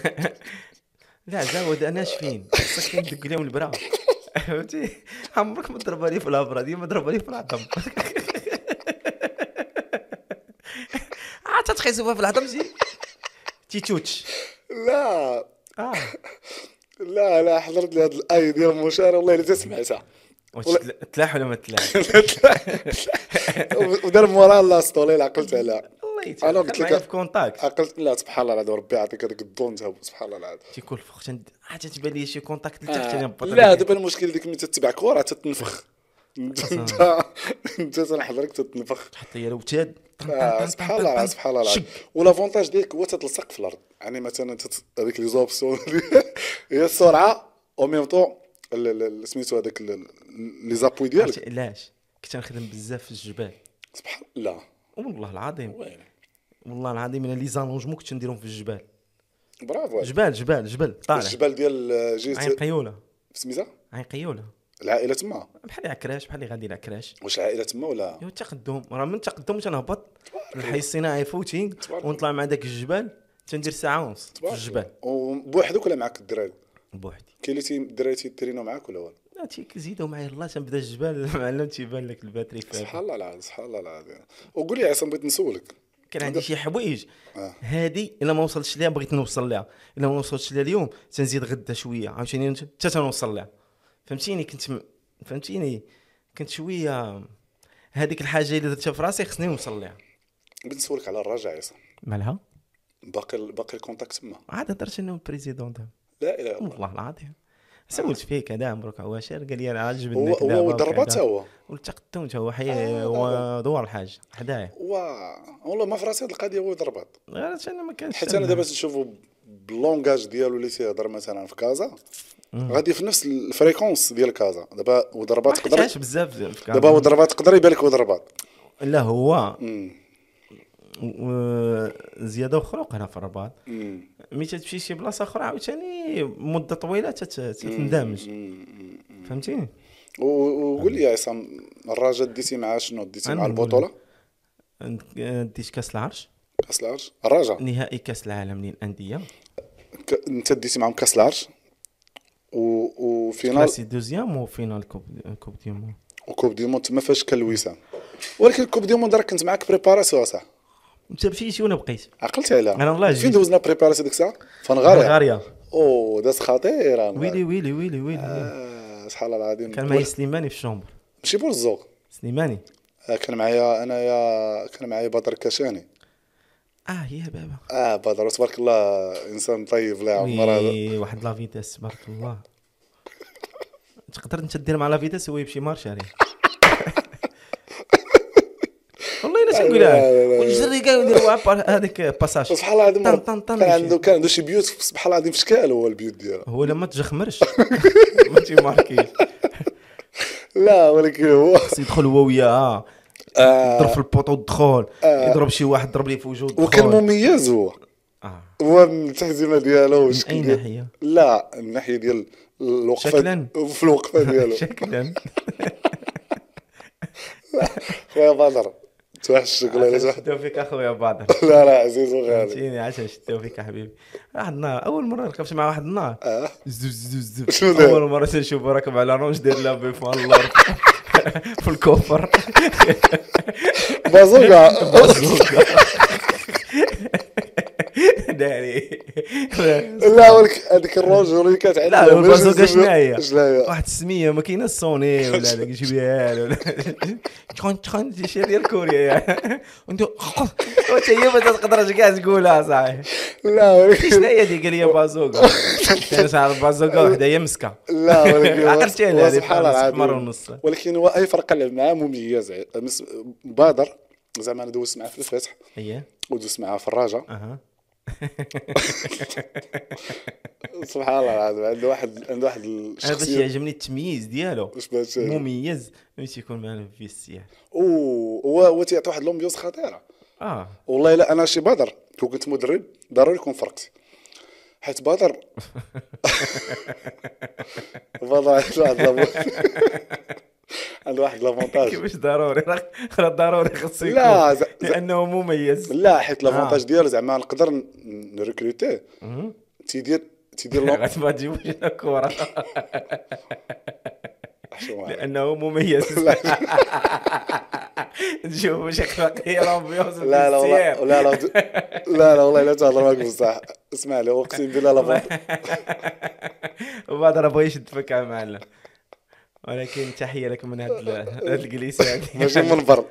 S2: لا زاود انا شفين خصك كندق لهم البرا فهمتي عمرك ما ضربها لي في الابره ديما ضربها لي في العظم عاد تخيزوها في العظم شي تيتوتش
S1: لا
S2: اه
S1: لا لا حضرت لي هاد الاي ديال مونشاري والله الا سمعتها
S2: واش
S1: ولا-
S2: تلا- تلاح ولا ما تلاح
S1: ودار مورا لا اسطوري لا عقلت عليها
S2: الله
S1: أنا
S2: يتعلم
S1: قلت لك-
S2: معايا في كونتاكت
S1: عقلت لا سبحان الله العظيم ربي يعطيك هذاك الدون تهب سبحان الله العظيم
S2: تيكون الفوق تند- عاد تتبان لي شي كونتاكت اللي تحت
S1: آه.
S2: تنبط
S1: لا دابا المشكل ديك ملي تتبع كره تتنفخ انت انت تنحضرك تتنفخ
S2: تحط لي الوتاد طن-
S1: آه،
S2: طن- طن-
S1: سبحان
S2: طن-
S1: الله
S2: طن.
S1: سبحان الله
S2: شك.
S1: العظيم ولافونتاج ديالك هو تتلصق في الارض يعني مثلا تت- هذيك لي زوبسيون هي السرعه او ميم طون ال- ال- سميتو هذاك ال- ال- لي زابوي
S2: عرفتي
S1: ديالك
S2: علاش كنت نخدم بزاف في الجبال
S1: سبحان الله
S2: والله العظيم والله العظيم انا لي زالونجمون كنت نديرهم في الجبال
S1: برافو عليك.
S2: جبال جبال جبل طالع
S1: الجبال ديال
S2: آه، عين
S1: جيت
S2: قيوله
S1: سميتها
S2: عين قيوله
S1: العائله تما
S2: بحال عكراش بحال اللي غادي لعكراش
S1: واش العائله تما ولا
S2: ايوا التقدم راه من التقدم تنهبط الحي الصناعي فوتي
S1: تبارك الله.
S2: ونطلع مع داك الجبال تندير ساعه ونص في الجبال
S1: وبوحدك ولا معك الدراري
S2: بوحدي
S1: كاين اللي الدراري تيترينو معاك ولا والو
S2: لا تيك زيدوا معايا الله تنبدا الجبال معلم تيبان لك الباتري
S1: سبحان
S2: فيها
S1: الله العظيم سبحان الله العظيم وقول لي يا عصام بغيت نسولك
S2: كان عندي شي حوايج
S1: آه.
S2: هادي الا ما وصلتش ليها بغيت نوصل ليها الا ما وصلتش ليها اليوم تنزيد غدا شويه عاوتاني نت- حتى تنوصل ليها فهمتيني كنت م... فهمتيني كنت شويه هذيك الحاجه اللي درتها في راسي خصني نوصل ليها
S1: بغيت نسولك على الرجاء يا عصام
S2: مالها
S1: باقي باقي الكونتاكت تما
S2: عاد هضرت انا والبريزيدون دابا
S1: لا اله الا الله
S2: والله العظيم سولت فيك هذا عمرك عواشر قال لي انا عاجبني
S1: هو هو آه، ضربات هو
S2: والتقدم تا هو حي هو دوار الحاج حدايا
S1: وا والله ما في راسي هاد القضيه هو ضربات
S2: غير حتى انا ما كانش
S1: حتى انا دابا تنشوفو باللونجاج ديالو اللي تيهضر مثلا في كازا غادي في نفس الفريكونس ديال كازا دابا
S2: ما
S1: وضربات تقدر
S2: حكيتهاش بزاف في
S1: دابا وضربات تقدر يبان لك وضربات
S2: لا هو
S1: أمم،
S2: و- زياده وخروق هنا في الرباط
S1: أمم،
S2: ملي تمشي شي بلاصه اخرى عاوتاني مده طويله تت- تتندمج
S1: أمم، أمم، أمم.
S2: فهمتيني
S1: و- وقول لي يا عصام الرجاء ديتي مع شنو ديتي
S2: أنا
S1: مع
S2: نقول-
S1: البطوله
S2: عند- ديت كاس العرش
S1: كاس العرش الرجاء
S2: نهائي كاس العالم للانديه
S1: ك- انت ديتي معاهم كاس العرش و... وفينال
S2: كلاسي دوزيام وفينال كوب كوب دي مون
S1: وكوب دي مون تما فاش كان الوسام ولكن كوب دي مون راه كنت معاك بريباراسيون صح
S2: انت مشيتي وانا بقيت
S1: عقلت عليها
S2: أنا والله
S1: فين
S2: جيت.
S1: دوزنا بريباراسيون ديك الساعه فنغاريا
S2: بلغاريا
S1: او دازت خطيره
S2: ويلي
S1: ويلي
S2: ويلي ويلي
S1: آه.
S2: ويلي
S1: سبحان الله العظيم
S2: كان معايا سليماني في الشومبر
S1: ماشي بورزوق
S2: سليماني
S1: آه، كان معايا انايا كان معايا بدر كاشاني
S2: اه يا بابا
S1: اه بدر تبارك الله انسان طيب لا عمر هذا
S2: وي واحد لا فيتاس تبارك الله تقدر انت دير مع لا فيتاس هو يمشي مارش عليه تنقولها
S1: لا، لا، لا.
S2: والجري كاع يدير عبر هذيك باساج
S1: سبحان الله العظيم
S2: طن طن طن
S1: كان عنده
S2: يمشي.
S1: كان عنده شي بيوت سبحان الله العظيم في شكال هو البيوت ديالها
S2: هو لما تجخمرش ما تيماركيش
S1: لا ولكن هو
S2: خص يدخل هو وياها
S1: آه،
S2: يضرب في البوطو الدخول
S1: آه.
S2: يضرب شي واحد ضرب ليه في وجهه
S1: وكان
S2: الدخول
S1: مميز هو
S2: آه.
S1: هو من التهزيمه ديالو
S2: من اي
S1: والشكل ديالو.
S2: ناحيه
S1: لا من الناحيه ديال الوقفه
S2: شكلاً.
S1: في الوقفه ديالو
S2: شكلا
S1: خويا بدر توحشك والله
S2: عشان
S1: الا توحشك.
S2: نشدو فيك اخويا بعض
S1: لا لا عزيز وغالي
S2: فهمتيني عشان نشدو فيك حبيبي واحد النهار اول مره ركبت مع واحد النهار
S1: اه
S2: زوز زوز
S1: شنو
S2: زوز
S1: داير؟
S2: اول مره تنشوفو راكب على رونج داير لابي في الارض في الكوفر
S1: بازوكا
S2: داري
S1: لا ولك هذيك الروجر اللي كانت عندنا
S2: لا البازوكا شنو هي؟
S1: شنو هي؟
S2: واحد السميه ما كاينه السوني ولا هذاك جيبيها له ولا تخون تخون شي شي ديال كوريا يا. وانت وانت هي ما تقدرش كاع تقولها صاحي
S1: لا
S2: شنو
S1: ولك
S2: هي هذيك قال لي بازوكا كان شعر بازوكا وحده هي مسكه
S1: لا ولكن هو-
S2: عقلتي
S1: هو
S2: عليها
S1: سبحان الله العظيم.
S2: مره ونص
S1: ولكن هو اي فرقه لعب معاه مميز مس- بادر زعما انا دوزت معاه في الفتح
S2: هي
S1: ودوزت معاه في الرجاء
S2: اها
S1: سبحان الله العظيم عنده واحد عنده واحد
S2: انا باش
S1: الشخصيه
S2: يعجبني التمييز ديالو
S1: واش باش
S2: مميز ملي تيكون معنا في السياح
S1: أوه، هو هو تيعطي واحد لومبيونس خطيره
S2: اه
S1: والله الا انا شي بدر كون كنت مدرب ضروري يكون فرقت حيت بدر بدر عنده واحد لافونتاج عنده واحد لافونتاج
S2: كيفاش ضروري راه راه ضروري خصو يكون
S1: لا ز... ز...
S2: لانه مميز
S1: لا حيت لافونتاج
S2: آه.
S1: ديالو زعما نقدر ن- نريكروتيه
S2: مهم.
S1: تيدير تيدير لون-
S2: غادي ما تجيبوش لنا كره
S1: شو معنا.
S2: لانه مميز نشوف واش اخلاقيه لامبيونس
S1: لا لا والله لا لا لا لا والله لا تهضر معاك بصح اسمع لي اقسم بالله لافونتاج
S2: وبعد راه بغا يشد فك يا معلم ولكن تحيه لك من هاد ال- هاد الجليسه هادي
S1: ماشي منبر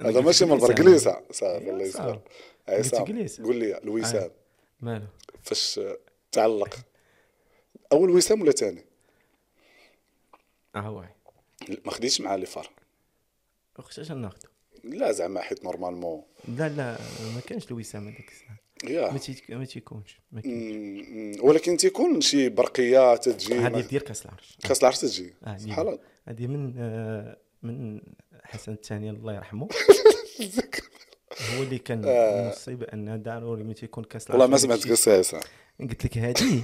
S1: هذا ماشي منبر
S2: قلت
S1: جليسه صافي
S2: أيوا
S1: الله يستر
S2: صافي.
S1: أي
S2: قلت
S1: صافي.
S2: جليسة. آه.
S1: قول لي الوسام
S2: مالو
S1: فاش تعلق اول وسام ولا ثاني
S2: اه هو
S1: ما خديتش معاه لي فار
S2: اختي ناخذ
S1: لا زعما حيت نورمالمون
S2: لا لا ما كانش الوسام هذيك الساعه ما
S1: يا
S2: تيت- ما تيكونش ما كاين.
S1: أمم، ولكن تيكون شي برقيه
S2: هذه
S1: تتجي
S2: ديال كاس العرش
S1: كاس العرش تتجي
S2: آه،
S1: سبحان الله
S2: هذه من آه، من حسن الثاني الله يرحمه هو اللي كان
S1: آه.
S2: مصيب ان ضروري ملي تيكون كاس العرش
S1: والله ما
S2: هذا
S1: سمعت
S2: الشيء.
S1: قصه هسه
S2: قلت لك هذه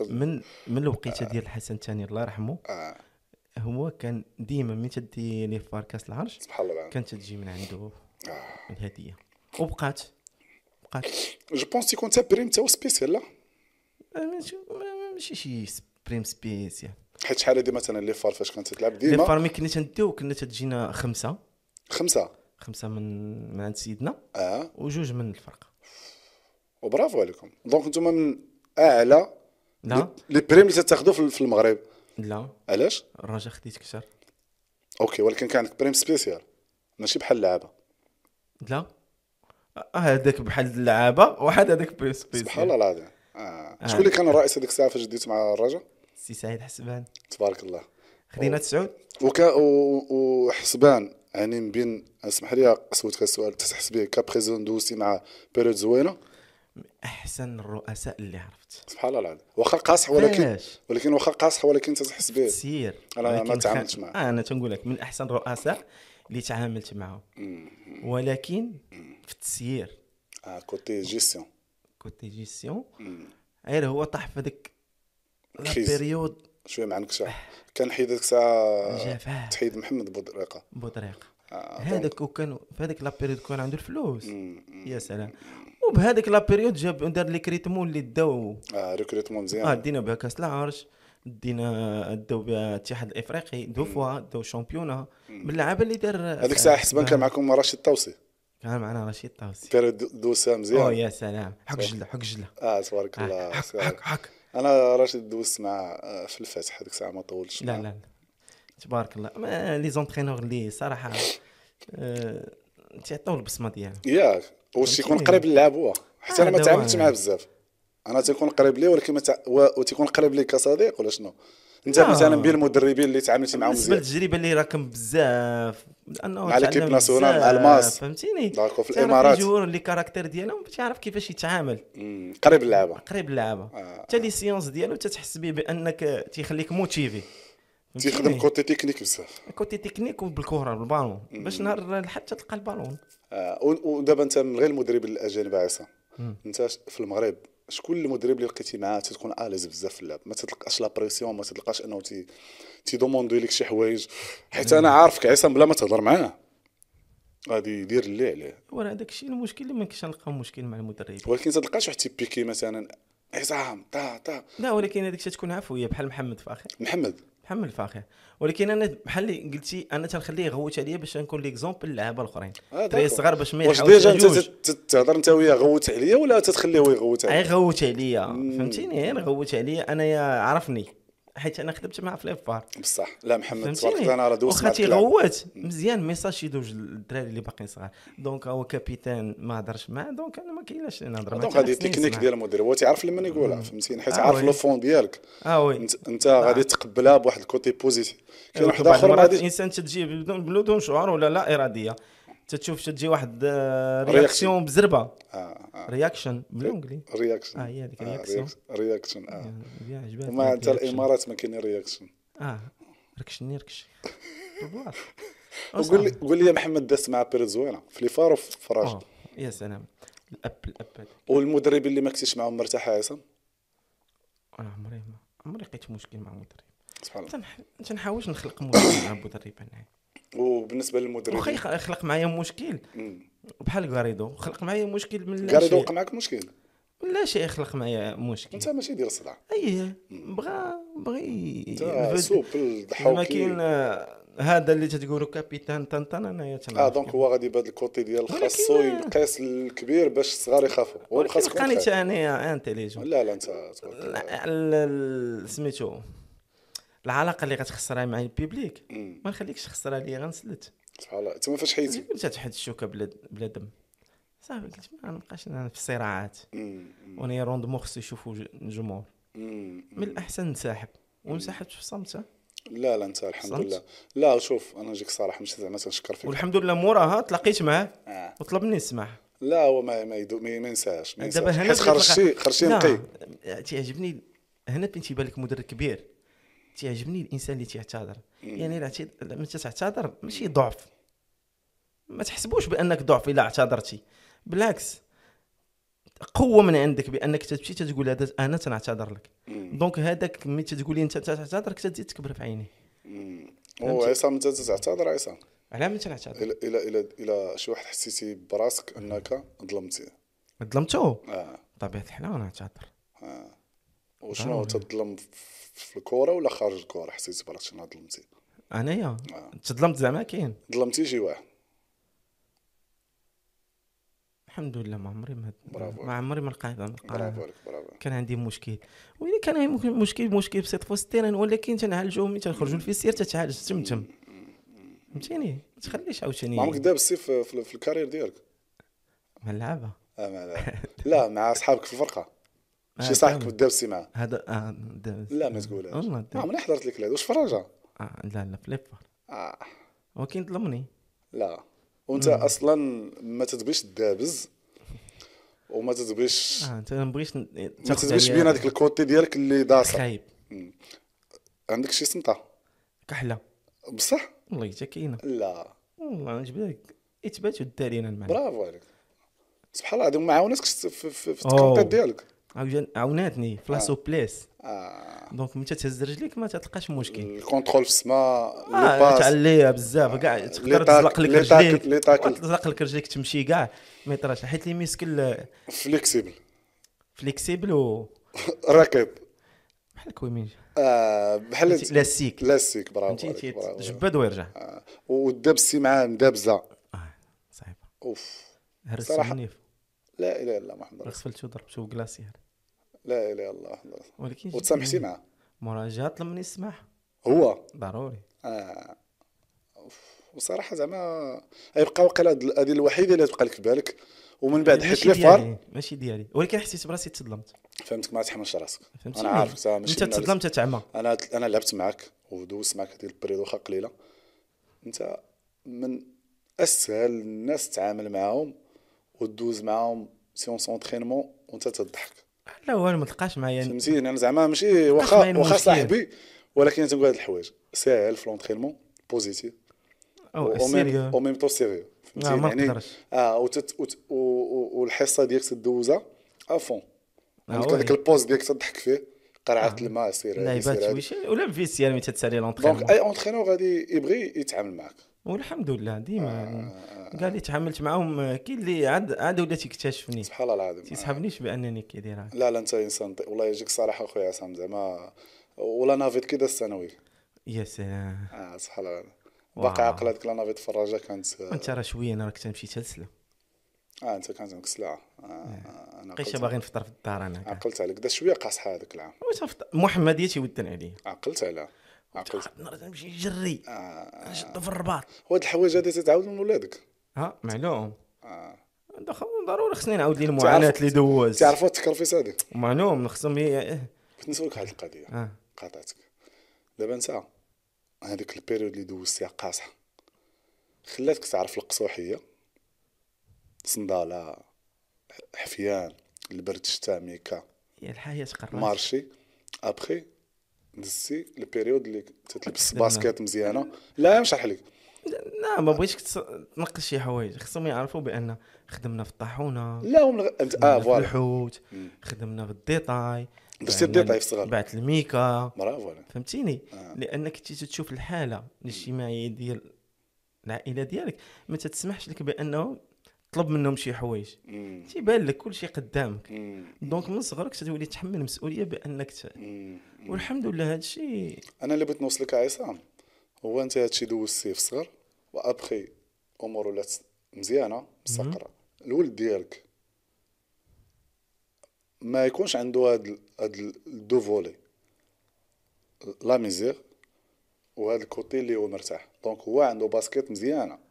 S2: من من الوقيته ديال الحسن الثاني الله يرحمه
S1: آه،
S2: هو كان ديما ملي تدي لي فار كاس العرش
S1: سبحان الله
S2: كانت تجي من عنده
S1: آه.
S2: الهديه وبقات بقات
S1: جو بونس تيكون تا بريم تا هو سبيسيال لا
S2: آه، ماشي ما- ماشي شي يعني. بريم سبيسيال
S1: حيت شحال هادي مثلا لي فار فاش كانت تلعب
S2: لي
S1: ديما
S2: فار ملي كنا تنديو كنا تجينا خمسه
S1: خمسه
S2: خمسه من من عند سيدنا
S1: اه
S2: وجوج من الفرقه
S1: وبرافو عليكم دونك نتوما من اعلى
S2: لا
S1: لي بريم اللي تتاخذوا في في المغرب
S2: لا
S1: علاش
S2: الرجاء خديت كثر
S1: اوكي ولكن كان عندك بريم سبيسيال ماشي بحال اللعابه
S2: لا آه، هذاك بحال اللعابه واحد هذاك بريم سبيسيال
S1: سبحان الله العظيم آه. شكون اللي كان الرئيس هذيك الساعه فاش ديت مع الرجاء
S2: سي سعيد حسبان
S1: تبارك الله
S2: خدينا تسعود
S1: وكا و- وحسبان يعني من بين اسمح لي سولتك السؤال تحس به كابريزون دوزتي مع بيريود زوينه
S2: احسن الرؤساء اللي عرفت
S1: سبحان الله العظيم واخا قاصح ولكن
S2: علاش؟
S1: ولكن واخا قاصح ولكن تتحس به
S2: سير
S1: أنا ما
S2: ولكن خا-
S1: تعاملتش معه.
S2: آه انا تنقول لك من احسن الرؤساء اللي تعاملت معهم ولكن في التسيير
S1: آه كوتي جيستيون
S2: كوتي جيستيون غير هو طاح في هذاك لا
S1: كريز.
S2: بيريود
S1: شويه ما عندكش
S2: أه.
S1: كان حيد ديك الساعه
S2: جفاف
S1: تحيد محمد بودريقه
S2: بطريقه
S1: طيب. آه،
S2: هذاك وكان في هذيك لا بيريود كان عنده الفلوس
S1: مم، مم.
S2: يا سلام وبهذيك لا بيريود جاب دار لي كريتمون اللي داو
S1: اه ريكروتمون
S2: اه
S1: مزيان
S2: دينا بها كاس العرش دينا داو بها الاتحاد الافريقي دو فوا داو شامبيونا من اللعابه اللي دار آه،
S1: هذيك الساعه حسبان كان معكم رشيد طوسي
S2: كان معنا رشيد طاوسي
S1: بيريود دوسا
S2: او
S1: مزيان
S2: يا سلام حك جله حك جله
S1: اه تبارك
S2: آه،
S1: الله
S2: حك حك حك
S1: انا راشد دوزت مع آه، في الفتح هذيك الساعه ما طولتش
S2: لا
S1: معاه.
S2: لا لا. تبارك الله ما لي زونترينور اللي صراحه آه، تيعطيو البصمه ديالهم
S1: ياك واش تيكون
S2: فهمتيني؟
S1: قريب للعب هو حتى انا
S2: هذا
S1: ما
S2: هو
S1: تعاملتش
S2: أنا.
S1: معاه بزاف انا تيكون قريب لي ولكن ما تع... و... وتيكون قريب لي كصديق ولا شنو انت
S2: لا.
S1: مثلا بين المدربين اللي تعاملتي معاهم
S2: بالنسبه
S1: مزيان
S2: للتجربه اللي راكم بزاف لانه
S1: نعم، مع ليكيب
S2: تعلم
S1: ناسيونال، مع
S2: بزاف،
S1: الماس.
S2: فهمتيني
S1: داكو في
S2: تعرف
S1: الامارات
S2: الجوار اللي كاركتير ديالهم تعرف كيفاش يتعامل
S1: مم، قريب اللعبه
S2: قريب اللعبه
S1: آه.
S2: حتى لي سيونس ديالو تتحس به بانك تيخليك موتيفي
S1: تيخدم
S2: فهمتيني؟
S1: كوتي تكنيك بزاف
S2: كوتي تكنيك وبالكره بالبالون باش نهار الحد تلقى البالون
S1: آه، و- ودابا انت من غير المدرب الاجانب عصام
S2: مم.
S1: انت ش- في المغرب شكون المدرب اللي لقيتي معاه تتكون اليز بزاف في اللعب ما تتلقاش لا بريسيون ما تتلقاش انه تي تيدوموندي لك شي حوايج حيت انا عارفك عصام بلا ما تهضر معاه غادي يدير اللي عليه
S2: ورا هذاك الشيء المشكل اللي ما كنتش نلقى مشكل مع المدرب
S1: ولكن ما تلقاش واحد تيبيكي إيه مثلا عصام تا تا
S2: لا ولكن هذيك الشيء تكون عفويه بحال محمد فاخر
S1: محمد
S2: بحال الفاخر ولكن انا بحال اللي قلتي انا تنخليه يغوت عليا باش نكون ليكزومبل للعابه الاخرين
S1: آه،
S2: دري
S1: داكو.
S2: صغار باش ما
S1: واش ديجا انت
S2: يحاولش
S1: تت- تت- تهضر انت وياه غوت عليا ولا تتخليه هو يغوت
S2: اي
S1: عليك
S2: غوت عليا فهمتيني انا غوت عليا انا يا عرفني حيت انا خدمت مع فليب بار
S1: بصح لا محمد تبارك
S2: فهمتيني
S1: الله انا راه دوزت
S2: واخا
S1: معاك الكلام.
S2: تيغوت مزيان ميساج يدوز للدراري اللي باقيين صغار دونك هو كابيتان ما هضرش معاه دونك انا ما كاينلاش نهضر معاه
S1: دونك
S2: حتى
S1: هذه
S2: خصني
S1: التكنيك
S2: نسمع.
S1: ديال المدرب هو تيعرف لما يقولها فهمتيني حيت
S2: آه،
S1: عارف
S2: وي.
S1: لو فون ديالك
S2: اه وي
S1: انت, انت غادي تقبلها بواحد الكوتي بوزيتيف كاين واحد
S2: بعض
S1: اخر ما
S2: المرات
S1: غادي
S2: الانسان تجي بدون بدون شعور ولا لا اراديه تتشوف تجي واحد آه،
S1: رياكسيون.
S2: رياكسيون بزربه
S1: آه، آه.
S2: رياكشن بالانجلي
S1: رياكشن
S2: آه، هي هذيك
S1: آه،
S2: رياكسيون.
S1: رياكس- رياكشن اه
S2: يا عجباتني
S1: وما انت
S2: الرياكشن.
S1: الامارات ما كاين رياكشن
S2: اه ركشني ركش بالبلاص
S1: وقول لي قول لي يا محمد دازت مع بيريز زوينه في لي فار وفي فراج
S2: آه، يا سلام الاب الاب
S1: والمدرب اللي ما كنتيش معاهم مرتاح عصام
S2: انا عمري ما عمري لقيت مشكل مع مدرب
S1: سبحان الله
S2: تنح- تنحاولش نخلق مشكل مع مدرب انا
S1: وبالنسبه للمدرب
S2: واخا يخ- يخلق معايا مشكل بحال غاريدو خلق معايا مشكل من لا
S1: كاريدو
S2: شيء.
S1: وقع معك مشكل
S2: من لا شيء يخلق معايا مشكل
S1: انت ماشي ديال الصداع
S2: ايه بغى بغى
S1: انت
S2: الفد-
S1: سوب
S2: زعما كاين
S1: الضحوكي
S2: آه، هذا اللي تتقولوا كابيتان طنطن انايا
S1: اه
S2: تنعرف
S1: دونك هو غادي بهذا الكوتي ديال
S2: ولكن-
S1: خاصو القياس الكبير باش الصغار يخافوا هو
S2: ولكن
S1: خاصك تكون
S2: لقاني
S1: خايف.
S2: تا انايا انتيليجون
S1: لا لا انت تبارك الله.
S2: ال- ال- سميتو العلاقه اللي غتخسرها مع البيبليك
S1: مم.
S2: ما نخليكش تخسرها لي غنسلت
S1: سبحان الله تما فاش حيتي
S2: انت تحد الشوكه بلا بلا دم صافي قلت ما نبقاش انا في الصراعات
S1: مم.
S2: وانا روندمون خصو يشوفوا ج- الجمهور
S1: مم.
S2: من الاحسن نسحب وانسحبت في صمتها
S1: لا لا انت الحمد
S2: صمت؟
S1: لله لا شوف انا نجيك صراحه مش زعما تنشكر فيك
S2: والحمد لله موراها تلاقيت معاه
S1: آه.
S2: وطلبني نسمع
S1: لا هو ما ما يدو ما ما ينساش ما
S2: دابا
S1: ينساش
S2: هنا
S1: يعني حيت
S2: بديت نلقى-
S1: خرجتي خرجتي
S2: لا،
S1: نقي
S2: تيعجبني هنا بين تيبان لك مدرب كبير تيعجبني الانسان اللي تيعتذر يعني الاعتذار لما تعتذر ماشي ضعف ما تحسبوش بانك ضعف الا اعتذرتي بالعكس قوه من عندك بانك تمشي تقول هذا انا تنعتذر لك
S1: مم.
S2: دونك هذاك ملي تتقولي انت تعتذر كتزيد تكبر في عيني
S1: مم. هو عصام انت تعتذر عصام
S2: على من تنعتذر
S1: الى الى الى الى شي واحد حسيتي براسك انك ظلمتيه
S2: ظلمته
S1: اه
S2: بطبيعه الحال انا نعتذر
S1: اه وشنو تظلم في الكوره ولا خارج الكوره حسيتي براسك شنو ظلمتي
S2: انايا
S1: آه.
S2: تظلمت زعما كاين
S1: ظلمتي شي واحد
S2: الحمد لله ما عمري ما
S1: برافو.
S2: ما عمري ما لقيت
S1: برافو عليك برافو عليك.
S2: كان عندي مشكل وإلا كان عندي مشكل مشكل بسيط في الستيران ولكن تنعالجو ملي تنخرجوا للفيسير تتعالج تمتم فهمتيني ما
S1: ما
S2: تخليش
S1: عمرك
S2: عاوتاني
S1: داب السيف في في الكارير ديالك
S2: مع اللعابه
S1: آه ما لا لا مع صحابك في الفرقه
S2: آه،
S1: شي صاحبك
S2: كامل.
S1: بالدابسي معاه
S2: هذا آه دابا-
S1: لا ما تقولهاش
S2: والله
S1: ما
S2: دابا.
S1: عمرني حضرت لك العيد واش فراجه
S2: آه، لا لا فليبر
S1: آه.
S2: ولكن ظلمني
S1: لا وانت اصلا ما تتبغيش تدابز وما تتبغيش
S2: اه انت ما بغيتش ن-
S1: ما
S2: تاخذ
S1: تتبغيش
S2: عليا
S1: بين هذاك الكوتي ديالك اللي داصر
S2: خايب
S1: عندك شي سمطه
S2: كحله
S1: بصح
S2: والله حتى كاينه
S1: لا
S2: والله نجبد لك اثبات الدارينا المعنى
S1: برافو عليك سبحان الله هذه ما عاونتكش في, في, في
S2: أوه.
S1: التقنطات ديالك
S2: عاوجان- عاوناتني في لاسو بليس
S1: آه.
S2: دونك ملي تهز رجليك ما تلقاش مشكل
S1: الكونترول في السماء لو
S2: اه
S1: باس
S2: تعليها بزاف كاع
S1: لي
S2: تقدر
S1: تاك-
S2: تزلق لك
S1: لي تاكل- لي
S2: رجليك
S1: تاكل.
S2: تزلق لك رجليك تمشي كاع ما يطراش حيت لي ميسكل
S1: فليكسيبل
S2: فليكسيبل و
S1: راكب
S2: بحال كويمين
S1: آه بحال
S2: لاسيك
S1: لاستيك برافو
S2: فهمتي
S1: عليك برافو عليك.
S2: تجبد ويرجع
S1: آه. والدبسي معاه مدابزه
S2: اه صعيبه
S1: اوف
S2: هرس
S1: آه. صراحة-
S2: النيف
S1: لا اله الا الله محمد رسول
S2: غسلته ضربته بكلاسيير
S1: لا اله الا الله محمد رسول
S2: ولكن جيت-
S1: وتسامحتي معاه
S2: مورا جا طلبني السماح
S1: هو
S2: ضروري
S1: آه. أوف. وصراحه زعما يبقى وقيلا هاد- هذه الوحيده اللي تبقى لك في بالك ومن بعد حيت
S2: ماشي يعني.
S1: لي فار
S2: ديالي ماشي ديالي ولكن حسيت براسي تظلمت
S1: فهمتك ما تحملش راسك
S2: فهمتيني
S1: انا عارفك صراحة ماشي
S2: انت
S1: من هاد الس-
S2: تظلمت تعمى
S1: انا انا لعبت معك ودوزت معك هذه البريود واخا قليله انت من اسهل الناس تتعامل معاهم ودوز معاهم سيونس اونترينمون وانت تضحك
S2: لا والو ما تلقاش معايا
S1: فهمتيني انا زعما ماشي
S2: معايا
S1: واخا
S2: المشكل.
S1: واخا صاحبي ولكن تنقول هاد الحوايج ساهل في لونترينمون بوزيتيف
S2: او
S1: او ميم
S2: سيريو
S1: او ميم طو سيريو
S2: آه، ما نقدرش.
S1: اه وتت وت و- و- والحصه ديالك تدوزها افون
S2: آه،
S1: عندك
S2: وي.
S1: هذاك البوست ديالك تضحك فيه قرعه الماء سير هادي،
S2: لعيبات
S1: سير هادي.
S2: شويش ولا في السيال ملي تتسالي
S1: دونك
S2: لونترينمون
S1: اي اونترينور غادي يبغي يتعامل معك
S2: والحمد لله ديما يعني كاع اللي تعاملت معاهم آه، كاين اللي عاد عاد ولا تيكتشفني
S1: سبحان الله العظيم
S2: تيسحبنيش بانني كيدير هكا
S1: لا لا انت انسان طيب والله يجيك صراحه اخويا عصام زعما ولا نافيت كي داز الثانوي
S2: يا سلام
S1: اه سبحان الله
S2: واو.
S1: باقي عاقل هذيك لا نافيت فراجه كانت
S2: انت راه شويه انا راك تمشي تسلم
S1: اه انت كانت عندك سلعه آه، آه، انا
S2: بقيت
S1: عقلت
S2: باغي نفطر في الدار انا كاع.
S1: عقلت عليك داز شويه قاصحه هذاك العام
S2: واش نفطر محمديه تيودن عليا
S1: عقلت عليها عقلت
S2: نرجع نمشي نجري
S1: آه.
S2: نشدو في الرباط
S1: وهاد الحوايج هادي تتعاود من ولادك
S2: ها معلوم
S1: آه.
S2: دخل ضروري خصني نعاود ليه المعاناه اللي دوز
S1: تعرفوا التكرفيس هادي
S2: معلوم خصهم ي...
S1: كنت نسولك هاد القضيه
S2: اه
S1: قاطعتك دابا انت هذيك البيريود اللي دوزتيها قاصحه خلاتك تعرف القصوحيه صنداله ح- حفيان البرد الشتا ميكا
S2: هي الحياه قررت
S1: مارشي ابخي دزتي البيريود اللي تتلبس باسكيت مزيانه لا نشرح لك
S2: لا ما بغيتش كتس- تنقص شي حوايج خصهم يعرفوا بان خدمنا في الطاحونه
S1: لا ومن غ... انت اه
S2: خدمنا في
S1: فوالا
S2: الحوت خدمنا في الديتاي
S1: درتي
S2: بعنا-
S1: الديتاي في الصغر. آه.
S2: بعت الميكا
S1: برافو عليك
S2: فهمتيني لانك تي تشوف الحاله الاجتماعيه ديال العائله ديالك ما تتسمحش لك بانه تطلب منهم شي حوايج
S1: مم.
S2: تيبان لك كل شيء قدامك
S1: مم.
S2: دونك من صغرك تتولي تحمل مسؤوليه بانك ت...
S1: مم.
S2: والحمد لله هذا الشيء
S1: انا اللي بغيت نوصلك يا عصام هو انت هادشي دوزتي في صغر وابخي امور ولات مزيانه مسقره الولد ديالك ما يكونش عنده هاد ال- هاد ال- الدو فولي لا ميزير وهاد الكوتي اللي هو مرتاح دونك هو عنده باسكيت مزيانه